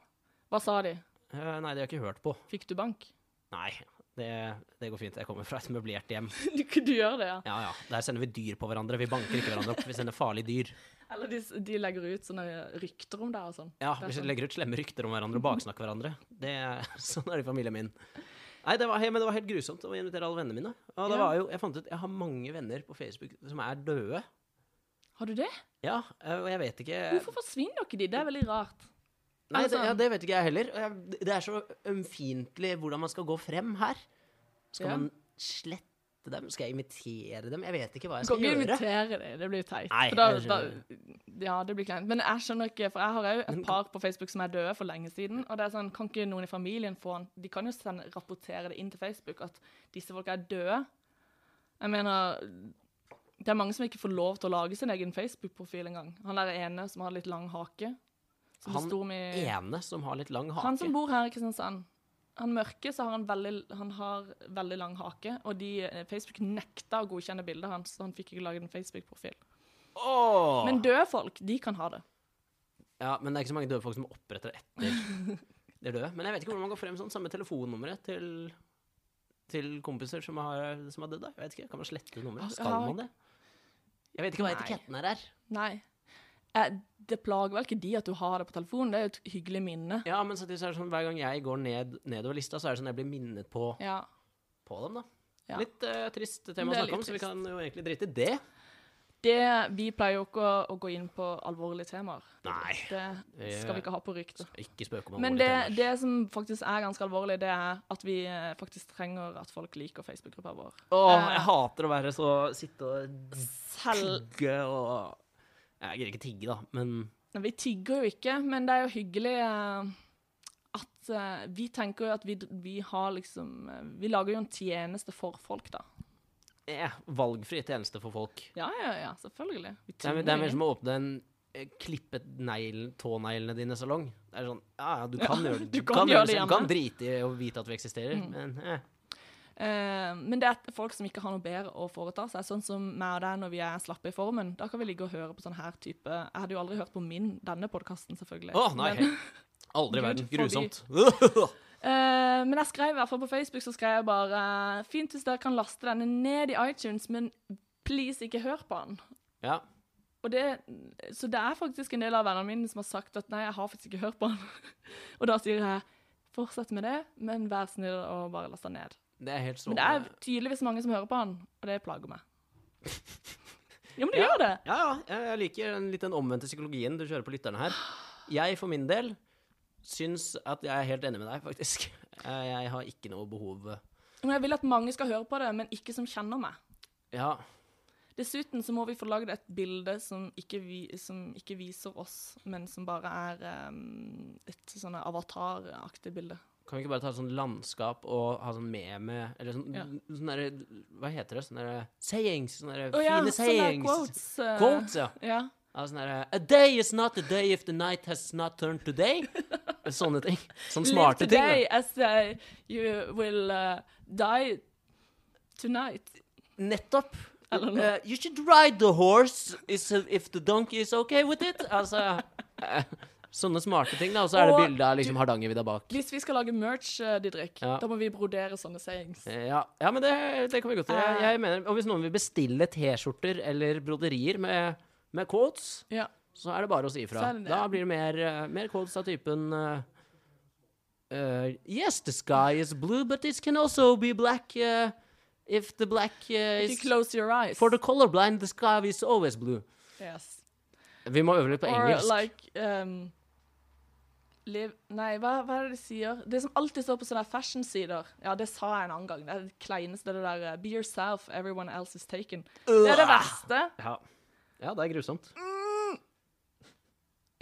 S2: Hva sa de?
S1: Eh, nei, de har ikke hørt på.
S2: Fikk du bank?
S1: Nei, det, det går fint. Jeg kommer fra et møblert hjem.
S2: <laughs> du, du gjør det, ja.
S1: Ja ja, der sender vi dyr på hverandre. Vi banker ikke hverandre opp, vi sender farlige dyr.
S2: Eller de, s- de legger ut sånne rykter om deg og sånn.
S1: Ja,
S2: Det er
S1: vi
S2: sånn.
S1: legger ut slemme rykter om hverandre og baksnakker hverandre. Det, er- <laughs> sånn er det i familien min. Nei, det var, hei, men det var helt grusomt å invitere alle vennene mine. Og det
S2: Ja.
S1: var jo, jeg fant ut, jeg har mange venner på Facebook som er døde.
S2: Har du det?
S1: Ja, eh, og jeg vet ikke
S2: Hvorfor forsvinner ikke de? Det er veldig rart.
S1: Nei,
S2: Eller
S1: det, ja,
S2: sånn.
S1: det vet ikke jeg heller. Og jeg- Det er så ømfintlig hvordan man skal gå frem her. Skal
S2: Ja.
S1: man slette dem? Skal jeg imitere dem? Jeg vet ikke hva jeg
S2: Du
S1: skal
S2: kan ikke
S1: gjøre.
S2: invitere dem, det blir jo teit.
S1: Nei,
S2: For da,
S1: jeg
S2: da,
S1: skjønner
S2: ja, det blir kleint. Men jeg skjønner ikke, for jeg har òg et par på Facebook som er døde for lenge siden. Og det er sånn, kan ikke noen i familien få den? De kan jo sende, rapportere det inn til Facebook at disse folka er døde. Jeg mener Det er mange som ikke får lov til å lage sin egen Facebook-profil engang. Han der ene som har litt lang hake. Som
S1: Han
S2: det sto om i
S1: Ene som har litt lang hake.
S2: Han som bor her i Kristiansand, han mørke, så har han veldig, han har veldig lang hake. Og de, eh, Facebook nekta å godkjenne bildet hans, så han fikk ikke laget en Facebook-profil.
S1: Åh!
S2: Men døde folk, de kan ha det.
S1: Ja, men det er ikke så mange døde folk som oppretter etter
S2: <laughs>
S1: de er døde. Men jeg vet ikke hvordan man går frem sånn. Samme telefonnummeret til, til kompiser som har, som har dødd. da. Jeg vet ikke, Kan man slette nummeret? Skal
S2: har-
S1: man det? Jeg vet ikke hva
S2: Nei.
S1: etiketten her er.
S2: Nei. eh, det plager vel ikke de at du har det på telefonen, det er jo et hyggelig minne.
S1: Ja, men samtidig så er det sånn hver gang jeg går ned, nedover lista, så er det sånn jeg blir minnet på,
S2: Ja.
S1: på dem, da.
S2: Ja.
S1: Litt eh, trist tema å
S2: Det er
S1: snakke om,
S2: litt
S1: så vi kan jo egentlig drite i det.
S2: Det, vi pleier jo ikke å, å gå inn på alvorlige temaer.
S1: Nei.
S2: Det skal vi ikke ha på rykt.
S1: Ikke spøke om
S2: Men
S1: alvorlige
S2: det,
S1: temaer.
S2: det som faktisk er ganske alvorlig, det er at vi eh, faktisk trenger at folk liker Facebook-gruppa vår.
S1: Åh, jeg hater å være så Sitte og
S2: Selv
S1: tigge og Jeg gidder ikke tigge, da, men
S2: Nei, Vi tigger jo ikke, men det er jo hyggelig eh, at eh, vi tenker jo at vi, vi har liksom eh, Vi lager jo en tjeneste for folk, da.
S1: eh, valgfri tjeneste for folk.
S2: Ja, ja, ja, selvfølgelig. Vi
S1: Det er, det er mer
S2: ingen.
S1: som å åpne en eh, klippet negl, tåneglene dine salong. Det er sånn, ja, ja, du
S2: <laughs>
S1: kan gjøre det.
S2: du kan gjøre det
S1: selv. Du kan
S2: hjemme. Mm.
S1: drite i å vite at vi eksisterer, men eh.
S2: Eh, men det er folk som ikke har noe bedre å foreta seg. Sånn som meg og deg når vi er slappe i formen. Da kan vi ligge og høre på sånn her type Jeg hadde jo aldri hørt på min, denne podkasten, selvfølgelig.
S1: Å, nei.
S2: Men,
S1: Aldri i
S2: Gud
S1: verden. Grusomt. <laughs>
S2: eh, men jeg skrev i hvert fall på Facebook så skrev jeg bare Fint hvis dere kan laste denne ned i iTunes, men please ikke hør på den.
S1: ja.
S2: Og det, så det er faktisk en del av vennene mine som har sagt at nei, jeg har faktisk ikke hørt på den. <laughs> og da sier jeg fortsett med det, men vær snill og bare last den ned.
S1: Det er helt
S2: Men det er
S1: strålende.
S2: tydeligvis mange som hører på han, og det plager
S1: <laughs>
S2: meg. Ja, men det gjør det!
S1: Ja, ja. Jeg liker den litt den omvendte psykologien du kjører på lytterne her. Jeg for min del syns at jeg er helt enig med deg, faktisk. <laughs> Eh, Jeg har ikke noe behov
S2: Men jeg vil at mange skal høre på det, men ikke som kjenner meg.
S1: Ja.
S2: Dessuten så må vi få lagd et bilde som ikke, vi, som ikke viser oss, men som bare er em, et sånn avataraktig bilde.
S1: Kan vi ikke bare ta et sånt landskap og ha sånn meme Eller sånn,
S2: Ja.
S1: sånn derre Hva heter det? Sånn derre sayings. Sånne derre
S2: Å ja,
S1: fine
S2: sånne
S1: sayings.
S2: quotes. eh,
S1: Quotes, ja.
S2: ja.
S1: Ja, sånn derre A day is not a day if the night has not turned to
S2: <laughs>
S1: day. Sånne ting. Sånne smarte
S2: Live
S1: ting.
S2: today
S1: da.
S2: as eh, you will eh, die tonight.
S1: Nettopp.
S2: Eller noe.
S1: Eh, you should ride the horse is, if the donkey is okay with it. Altså eh, Sånne smarte ting, da. Og så er det
S2: Og
S1: bilde av liksom Hardangervidda bak.
S2: Hvis vi skal lage merch, eh, Didrik,
S1: Ja.
S2: da må vi brodere sånne sayings.
S1: Eh, Ja, ja men det, det kan vi godt gjøre. Jeg,
S2: Eh.
S1: jeg mener, og hvis noen vil bestille T-skjorter eller broderier med, med quotes,
S2: Ja.
S1: så er det bare å si ifra.
S2: Så er det det.
S1: Da blir det mer, eh, mer quotes av typen eh, eh, Yes, the sky is blue, but it can also be black eh, if the black eh,
S2: If you
S1: is
S2: close your eyes.
S1: For the colorblind, the sky is always blue.
S2: yes.
S1: Vi må øve litt på
S2: Or
S1: engelsk.
S2: like um, live, Nei, hva, hva er det de sier? Det som alltid står på sånne fashion-sider Ja, det sa jeg en annen gang. Det er det kleineste, det der uh, Be yourself, everyone else is taken. Det er det verste.
S1: Ja. ja, det er grusomt.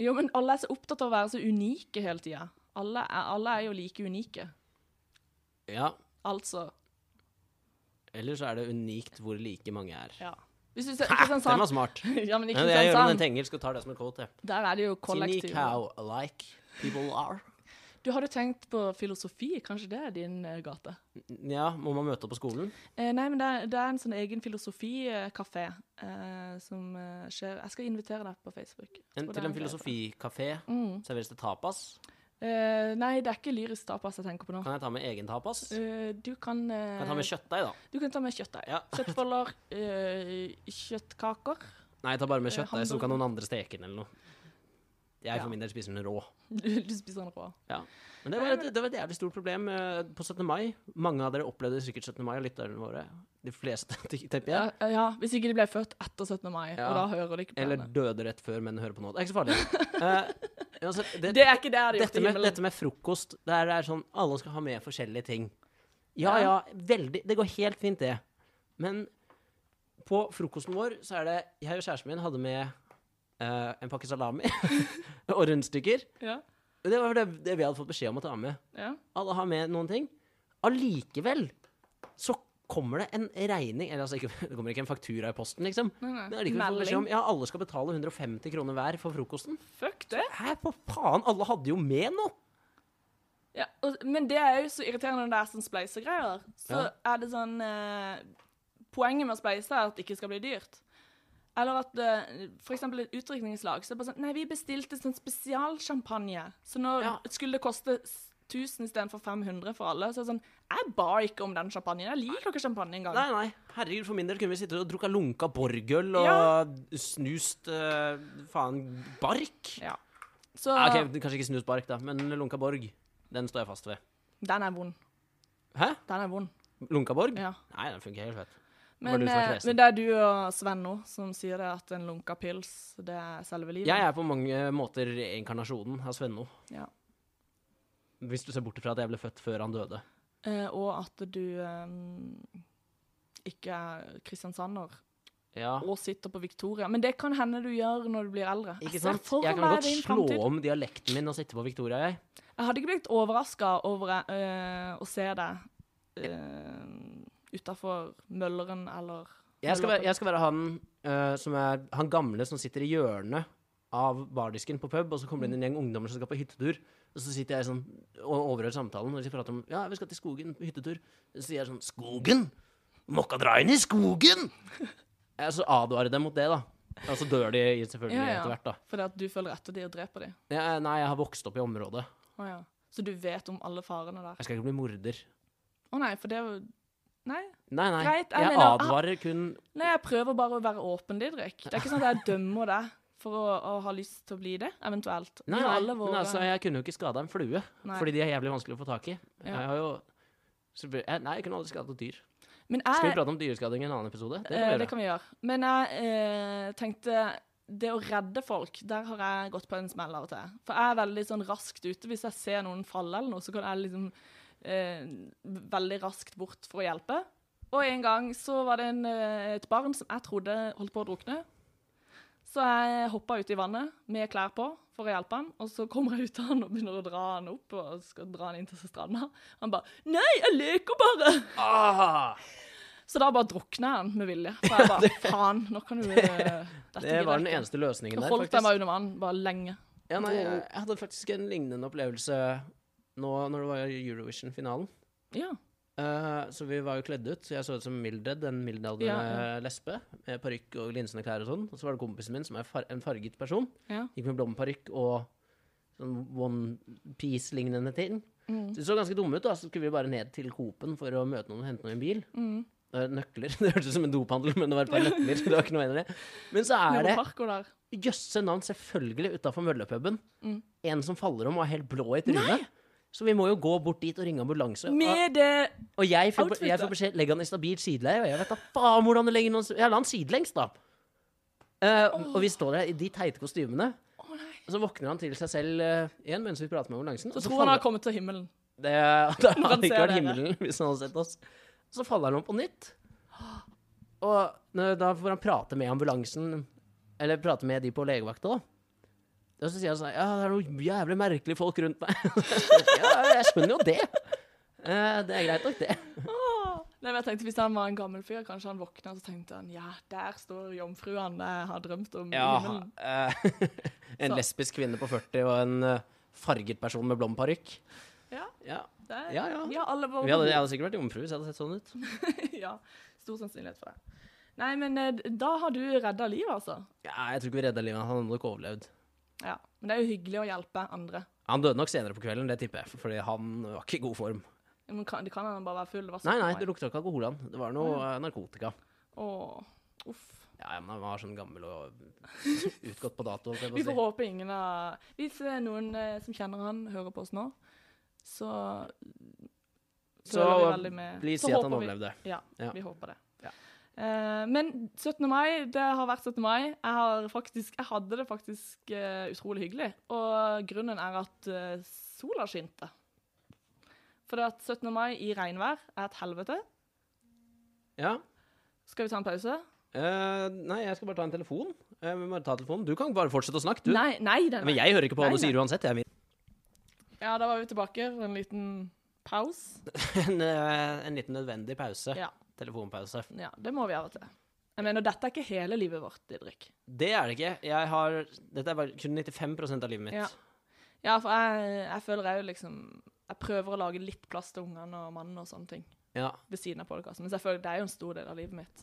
S2: Jo, men alle er så opptatt av å være så unike hele tida. Alle, er- alle er jo like unike.
S1: Ja,
S2: Altså.
S1: Ellers er det unikt hvor like mange er.
S2: Ja. Hvis du ser
S1: Ha, den var
S2: Kristiansand
S1: smart.
S2: <laughs> Ja, men i
S1: Men jeg gjør om den
S2: Kristiansand,
S1: til engelsk og tar det som en quote. jeg.
S2: der er det jo
S1: Unique
S2: kollektiv.
S1: how alike people are.
S2: Du hadde tenkt på filosofi, kanskje det er din eh, gate?
S1: Ja, må man møte opp på skolen?
S2: Eh, nei, men det er, det er en sånn egen filosofikafé eh, som eh, skjer. Jeg skal invitere deg på Facebook. Jeg
S1: En,
S2: tror det Mm.
S1: til
S2: er
S1: en
S2: bedre.
S1: filosofikafé serveres det tapas.
S2: Eh, nei, det er ikke lyrisk tapas jeg tenker på nå.
S1: Kan jeg ta med egen tapas? Kan
S2: Eh, du kan eh,
S1: jeg ta med kjøttdeig, da?
S2: Du kan ta med kjøttdeig.
S1: Ja.
S2: Kjøttboller, eh, kjøttkaker. <laughs>
S1: Nei, jeg tar bare med
S2: Eh,
S1: kjøttdeig, så
S2: hamburger.
S1: kan noen andre steke den, eller noe. Jeg
S2: Ja.
S1: for min del spiser den rå.
S2: Du, du spiser den rå.
S1: Ja. Men det var, et, det var et jævlig stort problem eh, på 17. mai. Mange av dere opplevde sikkert 17. mai, og lytterne våre. De fleste, <laughs> tipper jeg.
S2: Ja. eh, ja, hvis ikke de ble født etter 17. mai,
S1: Ja.
S2: og da hører de ikke på
S1: Eller
S2: henne.
S1: døde rett før, men hører på nå. Det er ikke så farlig. <laughs> Eh, uansett, det,
S2: Det er ikke det jeg hadde gjort
S1: dette,
S2: i
S1: med,
S2: himmelen.
S1: dette med frokost, det er, det er sånn alle skal ha med forskjellige ting. Ja ja, veldig Det går helt fint, det. Men på frokosten vår så er det Jeg og kjæresten min hadde med eh, en pakke salami <laughs> og rundstykker.
S2: Ja,
S1: Det var det, det vi hadde fått beskjed om å ta med.
S2: ja.
S1: Alle har med noen ting. Allikevel så kommer det en regning Eller altså, ikke, <laughs> det kommer ikke en faktura i posten, liksom.
S2: nei.
S1: Men allikevel får vi beskjed om
S2: Melding.
S1: ja, alle skal betale 150 kroner hver for frokosten.
S2: Fuck det.
S1: Hæ, på faen? Alle hadde jo med noe!
S2: Ja, og, men det er jo så irriterende når det er sånn spleisegreier. Så
S1: Ja.
S2: er det sånn eh, Poenget med å spleise er at det ikke skal bli dyrt. Eller at eh, for eksempel et utdrikningslag så er det bare sånn Nei, vi bestilte sånn spesialsjampanje, så nå
S1: Ja.
S2: skulle det koste s- 1000 istedenfor 500 for alle. Så er det sånn, jeg ba ikke om den champagnen. Jeg liker ikke champagne engang.
S1: Nei, nei. Herregud, for min del kunne vi sittet og drukka lunka borgøl og
S2: Ja.
S1: snust eh, faen bark.
S2: Ja. Så
S1: Ah, ok, Kanskje ikke snust bark, da, men lunka borg. Den står jeg fast ved.
S2: den er vond.
S1: Hæ?
S2: Den er vond.
S1: Lunka borg?
S2: Ja.
S1: Nei, den funker helt fett. var
S2: Men,
S1: du som var
S2: eh,
S1: kresen.
S2: men det er du og Sven nå som sier det at en lunka pils, det er selve livet.
S1: Jeg er på mange måter inkarnasjonen av Svenno.
S2: Ja.
S1: Hvis du ser bort fra at jeg ble født før han døde.
S2: Eh, og at du eh, ikke er kristiansander
S1: Ja.
S2: og sitter på Victoria. Men det kan hende du gjør når du blir eldre.
S1: Ikke
S2: ser
S1: sant?
S2: for
S1: Jeg kan
S2: meg
S1: godt
S2: din
S1: slå
S2: fremtid.
S1: om dialekten min og sitte på Victoria, jeg.
S2: Jeg hadde ikke blitt overraska over eh, å se deg uh, utafor Mølleren eller
S1: Jeg skal være,
S2: Møllerløpet.
S1: jeg skal være han, eh, som er, han gamle som sitter i hjørnet av bardisken på pub, og så kommer det inn en gjeng ungdommer som skal på hyttetur. Og så sitter jeg sånn og overhører samtalen, og de prater om ja, vi skal til skogen på hyttetur. Så sier jeg sånn Skogen? Må ikke dra inn i skogen! Jeg så advarer jeg dem mot det, da. Og så dør de selvfølgelig
S2: Ja, ja.
S1: etter hvert, da.
S2: Fordi at du følger etter de og dreper de.
S1: Jeg, nei, jeg har vokst opp i området.
S2: Å ja. Så du vet om alle farene der.
S1: Jeg skal ikke bli morder.
S2: Å nei, for det er jo Nei.
S1: Nei, nei.
S2: Greit, jeg
S1: jeg
S2: mener-
S1: advarer kun
S2: Nei, jeg prøver bare å være åpen, Didrik. Det er ikke sånn at jeg dømmer deg for å, å ha lyst til å bli det, eventuelt. Vi
S1: Nei,
S2: har
S1: nei,
S2: alle
S1: men
S2: våre-
S1: altså, jeg kunne jo ikke skada en flue.
S2: Nei.
S1: Fordi de er jævlig vanskelig å få tak i.
S2: Ja.
S1: Jeg har jo så ble- jeg, Nei, jeg kunne aldri skadet et dyr.
S2: Men
S1: Skal vi
S2: jeg,
S1: prate om dyreskading i en annen episode? Det kan vi
S2: eh,
S1: gjøre.
S2: det kan vi gjøre. Men jeg eh, tenkte det å redde folk, der har jeg gått på en smell av og til. For jeg er veldig sånn raskt ute. Hvis jeg ser noen falle eller noe, så kan jeg liksom eh, veldig raskt bort for å hjelpe. Og en gang så var det en, eh, et barn som jeg trodde holdt på å drukne. Så jeg hoppa uti vannet med klær på for å hjelpe han, og så kommer jeg ut av han og begynner å dra han opp og skal dra han inn til stranda. Han bare 'Nei, jeg leker bare'.
S1: Ah,
S2: Så da bare drukna han med vilje.
S1: <laughs>
S2: For jeg bare faen, nå kan du eh, Dette
S1: det var den eneste løsningen der,
S2: der, Holdt jeg
S1: faktisk.
S2: meg under vann bare lenge.
S1: Ja, nei, jeg jeg hadde faktisk en lignende opplevelse nå når det var Eurovision-finalen.
S2: Ja.
S1: Eh, så vi var jo kledd ut. så Jeg så ut som Mildred, en middelaldrende
S2: Ja,
S1: lesbe. Med parykk og glinsende klær og sånn. Og så var det kompisen min, som er far en farget person.
S2: Ja.
S1: Gikk med blomparykk og sånn One Piece-lignende ting. Så vi så ganske dumme ut, da. Så skulle vi bare ned til Coop-en for å møte noen og hente noe i en bil. Det var nøkler. <laughs> Det hørtes ut som en dophandel, men det var et par nøkler. Det var ikke noe mer enn det. Men så er
S2: Nede
S1: det
S2: på Parko der.
S1: jøsse navn, selvfølgelig, utafor møllepuben. En som faller om og er helt blå i trynet. Så vi må jo gå bort dit og ringe ambulanse. Og-
S2: Med det
S1: og jeg får,
S2: Outfit,
S1: jeg
S2: da.
S1: får beskjed legge han i stabilt sideleie, og jeg vet da faen hvordan du legger noen Jeg la han sidelengs, da. Eh, Og vi står der i de teite kostymene. Og så våkner han til seg selv eh, igjen mens vi prater med ambulansen.
S2: Så tror han har kommet til himmelen.
S1: det, <laughs> det
S2: Når han
S1: hadde ikke
S2: ser
S1: vært
S2: dere.
S1: himmelen hvis han hadde sett oss. Så faller han om på nytt. Og når- da får han prate med ambulansen, eller prate med de på legevakta, da. Og så sier han sånn Ja, det er noen jævlig merkelige folk rundt meg. <laughs> ja, jeg skjønner jo det. Eh, det er greit nok, det.
S2: Nei, men jeg tenkte Hvis han var en gammel fyr, kanskje han våkna og så tenkte han, ja, der står jomfruen jeg har drømt om. i
S1: Ja,
S2: himmelen.
S1: eh, <laughs> en
S2: Så-
S1: lesbisk kvinne på 40 og en eh, farget person med blond parykk.
S2: Ja,
S1: Ja.
S2: det er,
S1: Ja, ja.
S2: Vi har alle våre
S1: Vi hadde, jeg hadde sikkert vært jomfru hvis jeg hadde sett sånn ut.
S2: <laughs> ja, Stor sannsynlighet for det. Nei, men eh, da har du redda livet, altså.
S1: Ja, jeg tror ikke vi redda livet hans, han hadde nok overlevd.
S2: Ja, Men det er jo hyggelig å hjelpe andre.
S1: Han døde nok senere på kvelden, det tipper jeg, fordi han var ikke i god form.
S2: Men kan, det kan han bare være full. Det var
S1: Nei, nei,
S2: 17 mai.
S1: det lukta ikke alkohol han. Det var noe eh, narkotika.
S2: Åh, uff.
S1: Ja, ja, men han var sånn gammel og <laughs> utgått på dato. holdt jeg på å
S2: Vi får
S1: si.
S2: håpe ingen av Hvis det er noen eh, som kjenner han, hører på oss nå, så
S1: Så
S2: føler vi veldig med.
S1: please
S2: Så
S1: si at han
S2: håper vi-
S1: overlevde.
S2: Ja,
S1: Ja.
S2: vi håper det.
S1: Ja.
S2: Eh, men 17. mai, det har vært 17. mai. Jeg, har faktisk, jeg hadde det faktisk eh, utrolig hyggelig. Og grunnen er at eh, sola skinte. For det at 17. mai i regnvær er et helvete.
S1: Ja.
S2: Skal vi ta en pause?
S1: Eh, nei, jeg skal bare ta en telefon. Jeg må bare ta telefonen. Du kan bare fortsette å snakke, du.
S2: Nei, nei, nei, nei.
S1: Men jeg hører ikke på hva
S2: Nei,
S1: du sier
S2: nei.
S1: uansett. Jeg er min.
S2: Ja, da var vi tilbake for en liten pause.
S1: <laughs> En, eh, en liten nødvendig pause.
S2: Ja.
S1: Telefonpause.
S2: Ja, det må vi av og til. Jeg mener, dette er ikke hele livet vårt, Didrik.
S1: Det er det ikke. Jeg har, dette er bare kun 95 av livet mitt.
S2: Ja. Ja, for jeg, jeg føler jeg jo liksom Jeg prøver å lage litt plass til ungene og mannen og sånne ting
S1: Ja.
S2: ved siden av podkasten. Men selvfølgelig, det er jo en stor del av livet mitt.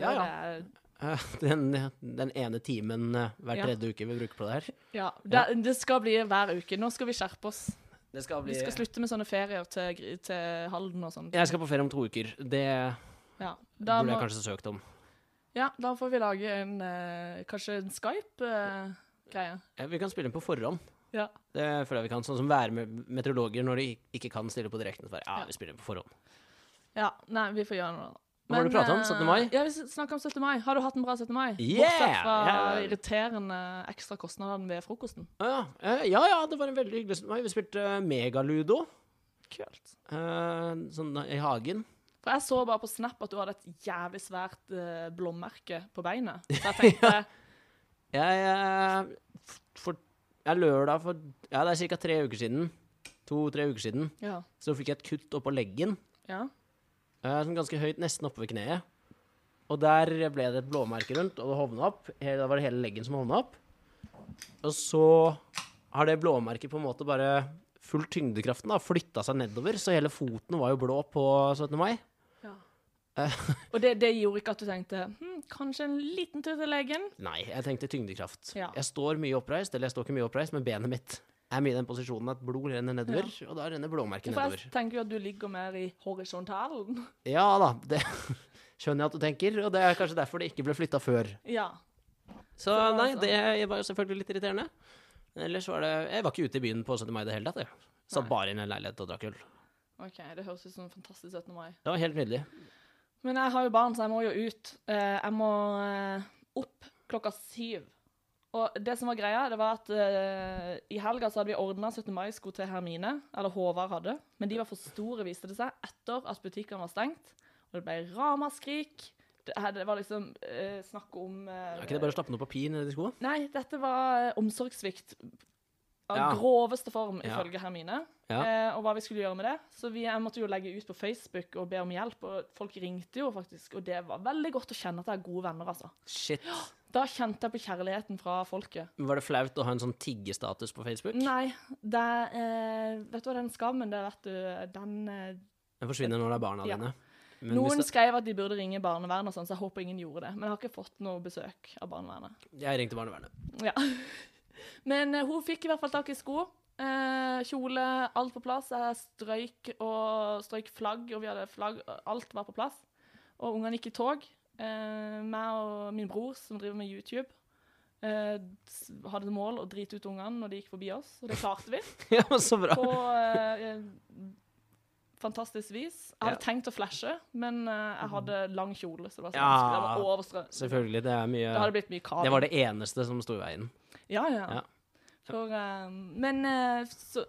S2: Det
S1: Ja,
S2: er
S1: ja. <laughs>
S2: Det,
S1: Eh, Den, den ene timen eh, hver
S2: Ja.
S1: tredje uke vi bruker på det her.
S2: er- ja, det, det skal bli hver uke. Nå skal vi skjerpe oss.
S1: Det skal
S2: Vi
S1: bli
S2: skal slutte med sånne ferier til, Gry- til Halden og sånn.
S1: Jeg skal på ferie om to uker. Det
S2: Ja. Da,
S1: burde
S2: må,
S1: jeg kanskje søkt om.
S2: ja, da får vi lage en eh, kanskje en Skype-greie.
S1: Eh, Vi kan spille inn på forhånd.
S2: ja.
S1: Det føler jeg vi kan. Sånn som værmeteorologer når de ikke kan stille på direkten. Så bare, ja,
S2: Ja.
S1: vi spiller inn på forhånd.
S2: ja. Nei, vi får gjøre noe. da.
S1: Hva var det du pratet om?
S2: eh,
S1: 17. mai?
S2: Ja, vi snakka om 17. mai. Har du hatt en bra 17. mai?
S1: Yeah!
S2: Bortsett fra
S1: Ja.
S2: irriterende ekstra kostnader ved frokosten.
S1: Å Ja, Eh, ja, ja, det var en veldig hyggelig mai. Vi spilte eh, megaludo
S2: Kult.
S1: eh, sånn i hagen.
S2: For jeg så bare på Snap at du hadde et jævlig svært eh, blåmerke på beinet. Så jeg tenkte
S1: <laughs> Jeg, eh, f- for, jeg lørdag for Ja, det er ca. tre uker siden. To-tre uker siden.
S2: Ja.
S1: Så fikk jeg et kutt oppå leggen.
S2: ja.
S1: Eh, sånn ganske høyt, nesten oppe ved kneet. Og der ble det et blåmerke rundt, og det hovna opp. Hele, da var det hele leggen som hovna opp. Og så har det blåmerket på en måte bare fulgt tyngdekraften, da, flytta seg nedover, så hele foten var jo blå på 17. mai. Eh, <laughs>
S2: Og det, det gjorde ikke at du tenkte hm, kanskje en liten tur til legen?
S1: Nei, jeg tenkte tyngdekraft.
S2: Ja.
S1: Jeg står mye oppreist, eller jeg står ikke mye oppreist, men benet mitt er mye i den posisjonen at blod renner nedover, og da renner blåmerket
S2: For
S1: nedover.
S2: jeg tenker jo at du ligger mer i horisontalen. <laughs>
S1: Ja da, det <laughs> skjønner jeg at du tenker, og det er kanskje derfor det ikke ble flytta før.
S2: Ja.
S1: Så nei, det var jo selvfølgelig litt irriterende. Men Ellers var det Jeg var ikke ute i byen på 17. mai i det hele tatt, jeg. Satt
S2: Nei.
S1: bare inne i en leilighet og drakk øl.
S2: OK, det høres ut som en fantastisk 17. mai.
S1: Det var helt nydelig.
S2: Men jeg har jo barn, så jeg må jo ut. Eh, Jeg må eh, opp klokka syv. Og det som var greia, det var at eh, i helga så hadde vi ordna 17. mai-sko til Hermine, eller Håvard hadde, men de var for store, viste det seg, etter at butikkene var stengt. Og det ble ramaskrik. Det, her- det var liksom eh, snakk om eh,
S1: Er ikke det bare å stappe noe papir nedi skoa?
S2: Nei, dette var eh, omsorgssvikt av
S1: Ja.
S2: groveste form,
S1: Ja.
S2: ifølge Hermine.
S1: Ja.
S2: Eh, og hva vi skulle gjøre med det. Så vi jeg måtte jo legge ut på Facebook og be om hjelp, og folk ringte jo faktisk. Og det var veldig godt å kjenne at jeg er gode venner, altså.
S1: Shit.
S2: Da kjente jeg på kjærligheten fra folket.
S1: Var det flaut å ha en sånn tiggestatus på Facebook?
S2: Nei, det eh, Vet du hva, den skammen, det vet du, den eh,
S1: Den forsvinner når det er barna
S2: Ja.
S1: dine. Men hvis
S2: Noen
S1: det,
S2: skrev at de burde ringe barnevernet og sånn, så jeg håper ingen gjorde det. Men jeg har ikke fått noe besøk av barnevernet.
S1: jeg ringte barnevernet. <laughs>
S2: Ja. <laughs> Men eh, hun fikk i hvert fall tak i sko. Eh, kjole, alt på plass. Jeg strøyk og strøyk flagg, og vi hadde flagg. eh, Alt var på plass. Og ungene gikk i tog. Eh, meg og min bror, som driver med YouTube, eh, s- hadde som mål å drite ut ungene når de gikk forbi oss, og det klarte vi
S1: Ja, men så bra.
S2: på eh, fantastisk vis. Jeg
S1: Ja.
S2: hadde
S1: Mm.
S2: tenkt å flashe, men eh, jeg hadde lang kjole, så det var, så
S1: Ja.
S2: vanskelig. Jeg var overstrø-
S1: Selvfølgelig. Det er mye
S2: Det hadde blitt mye kaving.
S1: Det var det eneste som sto i veien.
S2: Ja, ja.
S1: Ja.
S2: For, eh, men eh, så,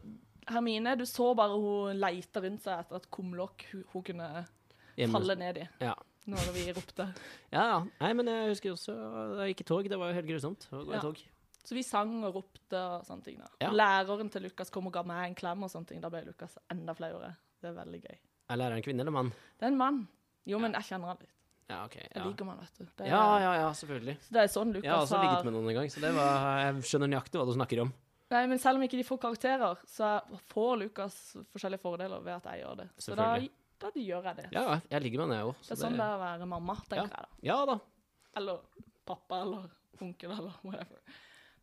S2: Hermine, du så bare hun leita rundt seg etter et kumlokk hun, hun kunne
S1: Hjemme-
S2: falle ned i
S1: Ja.
S2: når vi ropte.
S1: ja, ja. Nei, men jeg husker også Da jeg gikk i tog. Det var jo helt grusomt å gå i
S2: Ja.
S1: tog.
S2: Så vi sang og ropte og sånne ting. da.
S1: Ja.
S2: Læreren til Lukas kom og ga meg en klem, og sånne ting. Da ble Lukas enda flauere. Det er veldig gøy.
S1: Er læreren kvinne eller mann?
S2: Det er en mann. Jo, men jeg kjenner han litt.
S1: Ja, OK.
S2: Jeg
S1: Ja.
S2: liker han, vet du. Det er,
S1: ja, ja, ja, selvfølgelig.
S2: Så det er sånn Lukas
S1: Jeg har også
S2: har
S1: ligget med noen en gang, så det var, jeg skjønner nøyaktig hva du snakker om.
S2: Nei, men selv om ikke de får karakterer, så får Lukas forskjellige fordeler ved at jeg gjør det. Så da,
S1: Selvfølgelig.
S2: da gjør jeg det.
S1: Ja, ja, jeg ligger med henne, jeg òg.
S2: det er sånn det er å være mamma, tenker jeg da.
S1: Ja
S2: <laughs>
S1: da.
S2: Eller pappa, eller onkel, eller whatever.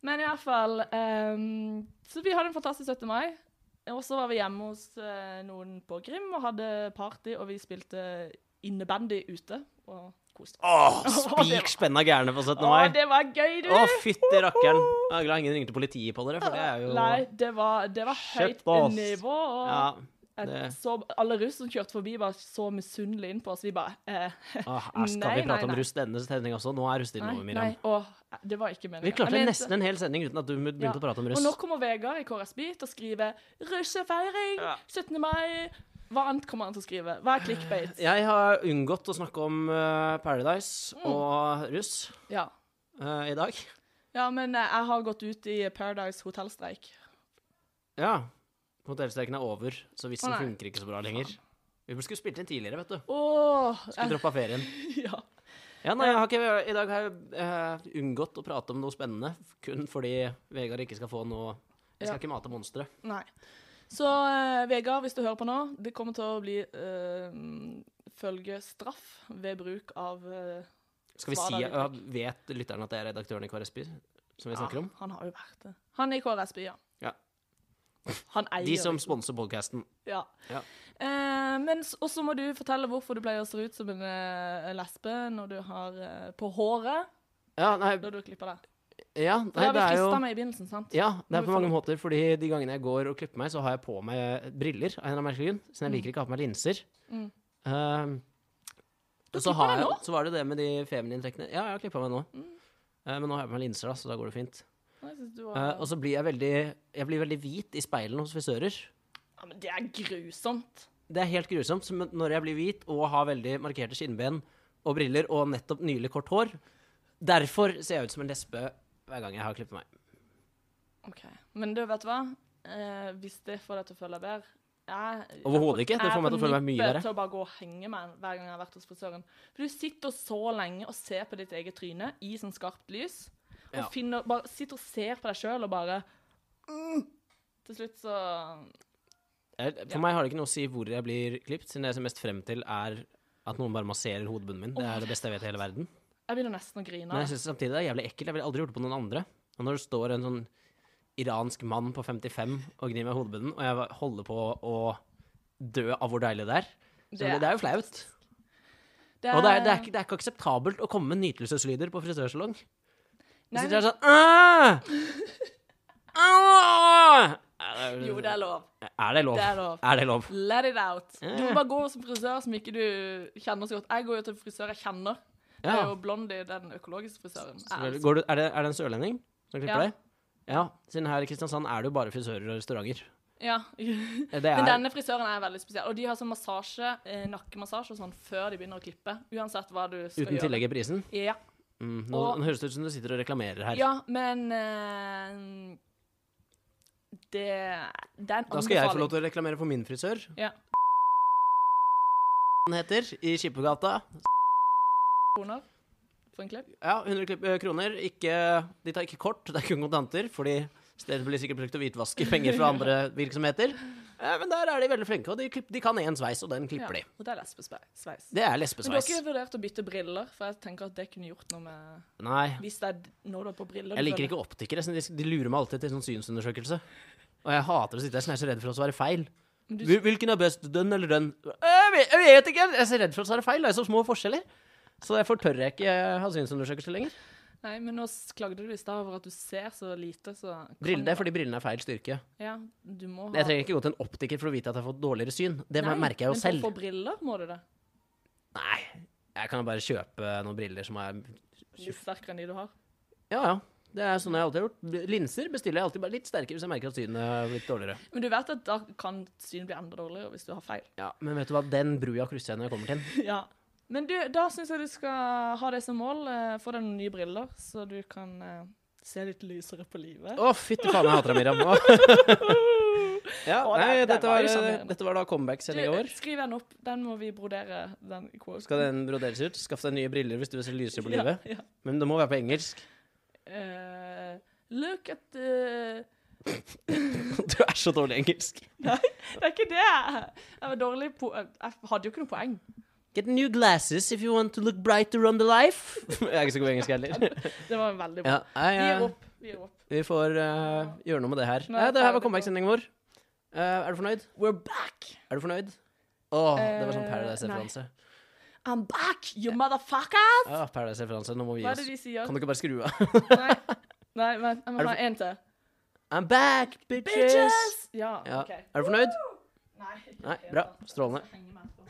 S2: Men i hvert fall ehm, Så vi hadde en fantastisk 17. mai. Og så var vi hjemme hos eh, noen på Grim og hadde party, og vi spilte innebandy ute <laughs> og koste oss.
S1: Åh,
S2: Å, det var-
S1: spik spenna gærne på 17.
S2: Å,
S1: mai.
S2: det var gøy, du!
S1: Å, fytti rakkeren. Jeg er glad ingen ringte politiet på dere, for det er jo
S2: <laughs> Nei, det var, det var høyt
S1: Shitballs.
S2: nivå. Og
S1: Ja.
S2: jeg
S1: det-
S2: så, alle russ som kjørte forbi, var så misunnelige inn på oss. Vi bare eh,
S1: Åh,
S2: <laughs>
S1: her skal
S2: Nei,
S1: vi prate
S2: nei,
S1: om
S2: nei.
S1: rust denne sendinga også? Nå er rusttiden
S2: Nei,
S1: over,
S2: nei.
S1: Miriam.
S2: Og, det var ikke meningen.
S1: Vi klarte
S2: Jeg mente-
S1: nesten en hel sending uten at du begynte
S2: Ja.
S1: å prate om
S2: Og nå
S1: rust.
S2: kommer Vegard i KRS Beat og skriver 'russefeiring', 17. mai. Hva annet kommer han til å skrive? Hva er clickbait?
S1: Jeg har unngått å snakke om eh, Paradise
S2: Mm.
S1: og russ
S2: Ja.
S1: eh, i dag.
S2: ja, men eh, jeg har gått ut i Paradise hotellstreik.
S1: Ja. Hotellstreken er over, så vitsen
S2: Å, nei.
S1: funker ikke så bra lenger. Vi skulle spilt inn tidligere, vet du.
S2: Åh, <laughs>
S1: Skulle droppa ferien.
S2: ja.
S1: Ja, nei, jeg har ikke, I dag har jeg eh, unngått å prate om noe spennende, kun fordi Vegard ikke skal få noe Jeg skal
S2: Ja.
S1: ikke mate monstre.
S2: Nei. Så eh, Vegard, hvis du hører på nå, det kommer til å bli eh, følge straff ved bruk av eh,
S1: Skal vi
S2: Svar
S1: si,
S2: da,
S1: ja, Vet lytteren at det er redaktøren i KRSB som vi snakker om?
S2: Han har jo vært det. Han er i KRS By, ja.
S1: Ja.
S2: Han eier
S1: De som
S2: liksom.
S1: sponser podkasten.
S2: Ja.
S1: Ja.
S2: Eh, men s- også må du fortelle hvorfor du pleier å se ut som en eh, lesbe når du har eh, på håret.
S1: Ja, nei,
S2: Da du klipper det.
S1: ja,
S2: For
S1: nei,
S2: det
S1: det
S2: har
S1: er
S2: vi
S1: jo
S2: frista med i begynnelsen, sant?
S1: Ja, det
S2: Må
S1: er
S2: vi
S1: på mange
S2: følge
S1: måter, fordi de gangene jeg går og klipper meg, så har jeg på meg briller, av en eller annen merkelig grunn, så
S2: Mm.
S1: jeg liker ikke å ha på meg linser. Um, og så,
S2: klipper
S1: har
S2: deg
S1: jeg,
S2: nå? Mm.
S1: så var det det med de feminine trekkene. Ja, jeg har klippa meg nå. Eh, men nå har jeg på meg linser, da, så da går det fint.
S2: Jeg synes du
S1: Eh,
S2: var...
S1: og så blir jeg veldig Jeg blir veldig hvit i speilene hos frisører.
S2: ja, men det er grusomt.
S1: Det er helt grusomt. som Når jeg blir hvit og har veldig markerte skinnben og briller og nettopp nylig kort hår Derfor ser jeg ut som en lesbe hver gang jeg har klippet meg.
S2: Ok. Men du, vet du hva? Eh, hvis det får deg til å føle deg bedre jeg-
S1: Overhodet ikke. Det
S2: jeg er
S1: får meg til å
S2: på
S1: føle meg mye
S2: nippet
S1: verre.
S2: til å bare gå og henge meg hver gang jeg har vært hos frisøren. For du sitter så lenge og ser på ditt eget tryne i sånn skarpt lys. Og
S1: Ja.
S2: finner, bare, sitter og ser på deg sjøl og bare mm. Til slutt så
S1: Jeg- For meg har det ikke noe å si hvor jeg blir klippet, siden det jeg ser mest frem til, er at noen bare masserer hodebunnen min. Det er det beste jeg vet i hele verden.
S2: Jeg begynner nesten å grine.
S1: Men jeg
S2: av det.
S1: syns samtidig det er jævlig ekkelt. Jeg ville aldri gjort det på noen andre. Og når det står en sånn iransk mann på 55 og gnir meg i hodebunnen, og jeg va- holder på å dø av hvor deilig det er, så
S2: Det Eh.
S1: det, det er jo flaut.
S2: Det
S1: Og det er, det, er ikke, det er ikke akseptabelt å komme med nytelseslyder på frisørsalong. Du
S2: Nei,
S1: sitter der sånn «Åh!
S2: <laughs>
S1: Åh!» Er det-
S2: Jo, det er lov.
S1: Er det lov?
S2: Det er lov.
S1: Er det lov?
S2: Let it out. Du må bare gå som frisør som ikke du kjenner så godt. Jeg går jo til frisør jeg kjenner. Det er
S1: Ja.
S2: jo Blondie, den økologiske frisøren. Jeg
S1: Selvfølgelig.
S2: elsker
S1: Går du, er, det, er det en sørlending som klipper
S2: altså- Ja.
S1: deg? Ja. Siden her i Kristiansand er det jo bare frisører og restauranter. Eh,
S2: Ja. <laughs>
S1: Det er,
S2: Men denne frisøren er veldig spesiell. Og de har sånn massasje, eh, nakkemassasje og sånn før de begynner å klippe. Uansett hva du skal
S1: uten
S2: gjøre.
S1: tillegg i prisen.
S2: Ja.
S1: Mm, nå,
S2: Og-
S1: nå høres det ut som du sitter og reklamerer her.
S2: ja, men eh, det, det er en anbefaling.
S1: da skal jeg få lov til å reklamere for min frisør.
S2: Ja.
S1: Han heter i Skippergata.
S2: kroner for en klipp.
S1: Ja, 100 klipp- eh, kroner. Ikke, de tar ikke kort, det er kun kontanter, fordi stedet blir sikkert brukt til å hvitvaske penger fra andre
S2: <laughs>
S1: virksomheter. Eh, Men der er de veldig flinke, og de, klipp, de kan én sveis, og den klipper
S2: Ja, og det er lesbesveis.
S1: de. Det er
S2: Men du har
S1: lesbesveis.
S2: ikke vurdert å bytte briller? For jeg tenker at det kunne gjort noe med
S1: Nei.
S2: Hvis det er d- når du er på briller
S1: Jeg liker ikke optikere. sånn, De, de lurer meg alltid til sånn synsundersøkelse. Og jeg hater å sitte der, sånn, jeg er så redd for å svare feil.
S2: du-
S1: Hvil- Hvilken er best, den eller den? Jeg vet, jeg vet ikke! Jeg er så redd for å svare feil. Det er så små forskjeller. Så derfor tør jeg ikke ha synsundersøkelse lenger.
S2: Nei, men nå s- klagde du i stad over at du ser så lite, så kan-
S1: Brillene, det er fordi brillene er feil styrke.
S2: Ja, du må ha
S1: Jeg trenger ikke gå til en optiker for å vite at jeg har fått dårligere syn. Det
S2: Nei,
S1: merker jeg jo
S2: Men
S1: selv.
S2: for å få briller må du det.
S1: Nei, jeg kan bare kjøpe noen briller som er
S2: Litt sterkere enn de du har.
S1: Ja, ja. Det er sånn jeg alltid har gjort. Linser bestiller jeg alltid bare litt sterkere hvis jeg merker at synet er blitt dårligere.
S2: Men du vet at da kan synet bli enda dårligere hvis du har feil. <laughs>
S1: Ja, Men vet du hva, den brua krysser jeg når jeg kommer til den.
S2: Ja. Men du, da syns jeg du skal ha det som mål. Eh, få deg noen nye briller, så du kan eh, se litt lysere på livet.
S1: Å, fytti faen, jeg hater deg,
S2: <laughs>
S1: Miriam. Å. ja,
S2: Å, det-
S1: nei,
S2: det
S1: dette
S2: var
S1: var, eh,
S2: jo sjarmerende.
S1: dette var da comeback-sending i
S2: Du,
S1: år.
S2: skriv den opp. Den må vi brodere. Den quote.
S1: Skal den broderes ut? Skaff deg nye briller hvis du vil se lysere på livet.
S2: Ja, ja.
S1: Men det må være på
S2: <laughs>
S1: engelsk.
S2: Eh, look at the
S1: Du er så dårlig i engelsk.
S2: Det er ikke det! Jeg var dårlig på Jeg hadde jo ikke noe poeng.
S1: Get new glasses if you want to look brighter on the life. <laughs> jeg er ikke så god i engelsk
S2: <laughs>
S1: heller.
S2: Det var veldig bra.
S1: Ja, nei,
S2: Vi gir
S1: eh,
S2: opp. Vi gir opp.
S1: vi får eh, gjøre noe med det her.
S2: Nå er
S1: Ja,
S2: jeg
S1: det her var
S2: ferdig.
S1: comeback-sendingen vår. Eh, er du fornøyd?
S2: We're back!
S1: Er du fornøyd? Å, det var sånn
S2: Eh,
S1: Paradise-referanse.
S2: I'm back, you motherfuckers!
S1: Ja, Paradise-referanse. Ah, Nå må vi gi
S2: Hva er det
S1: oss.
S2: de sier?
S1: Kan du ikke bare skru av?
S2: Nei, Nei men jeg må
S1: Er det
S2: ha en til.
S1: I'm back, bitches!
S2: Ja,
S1: Ja.
S2: OK.
S1: Er du fornøyd?
S2: Nei.
S1: Nei, bra. Strålende.
S2: Jeg henger meg på.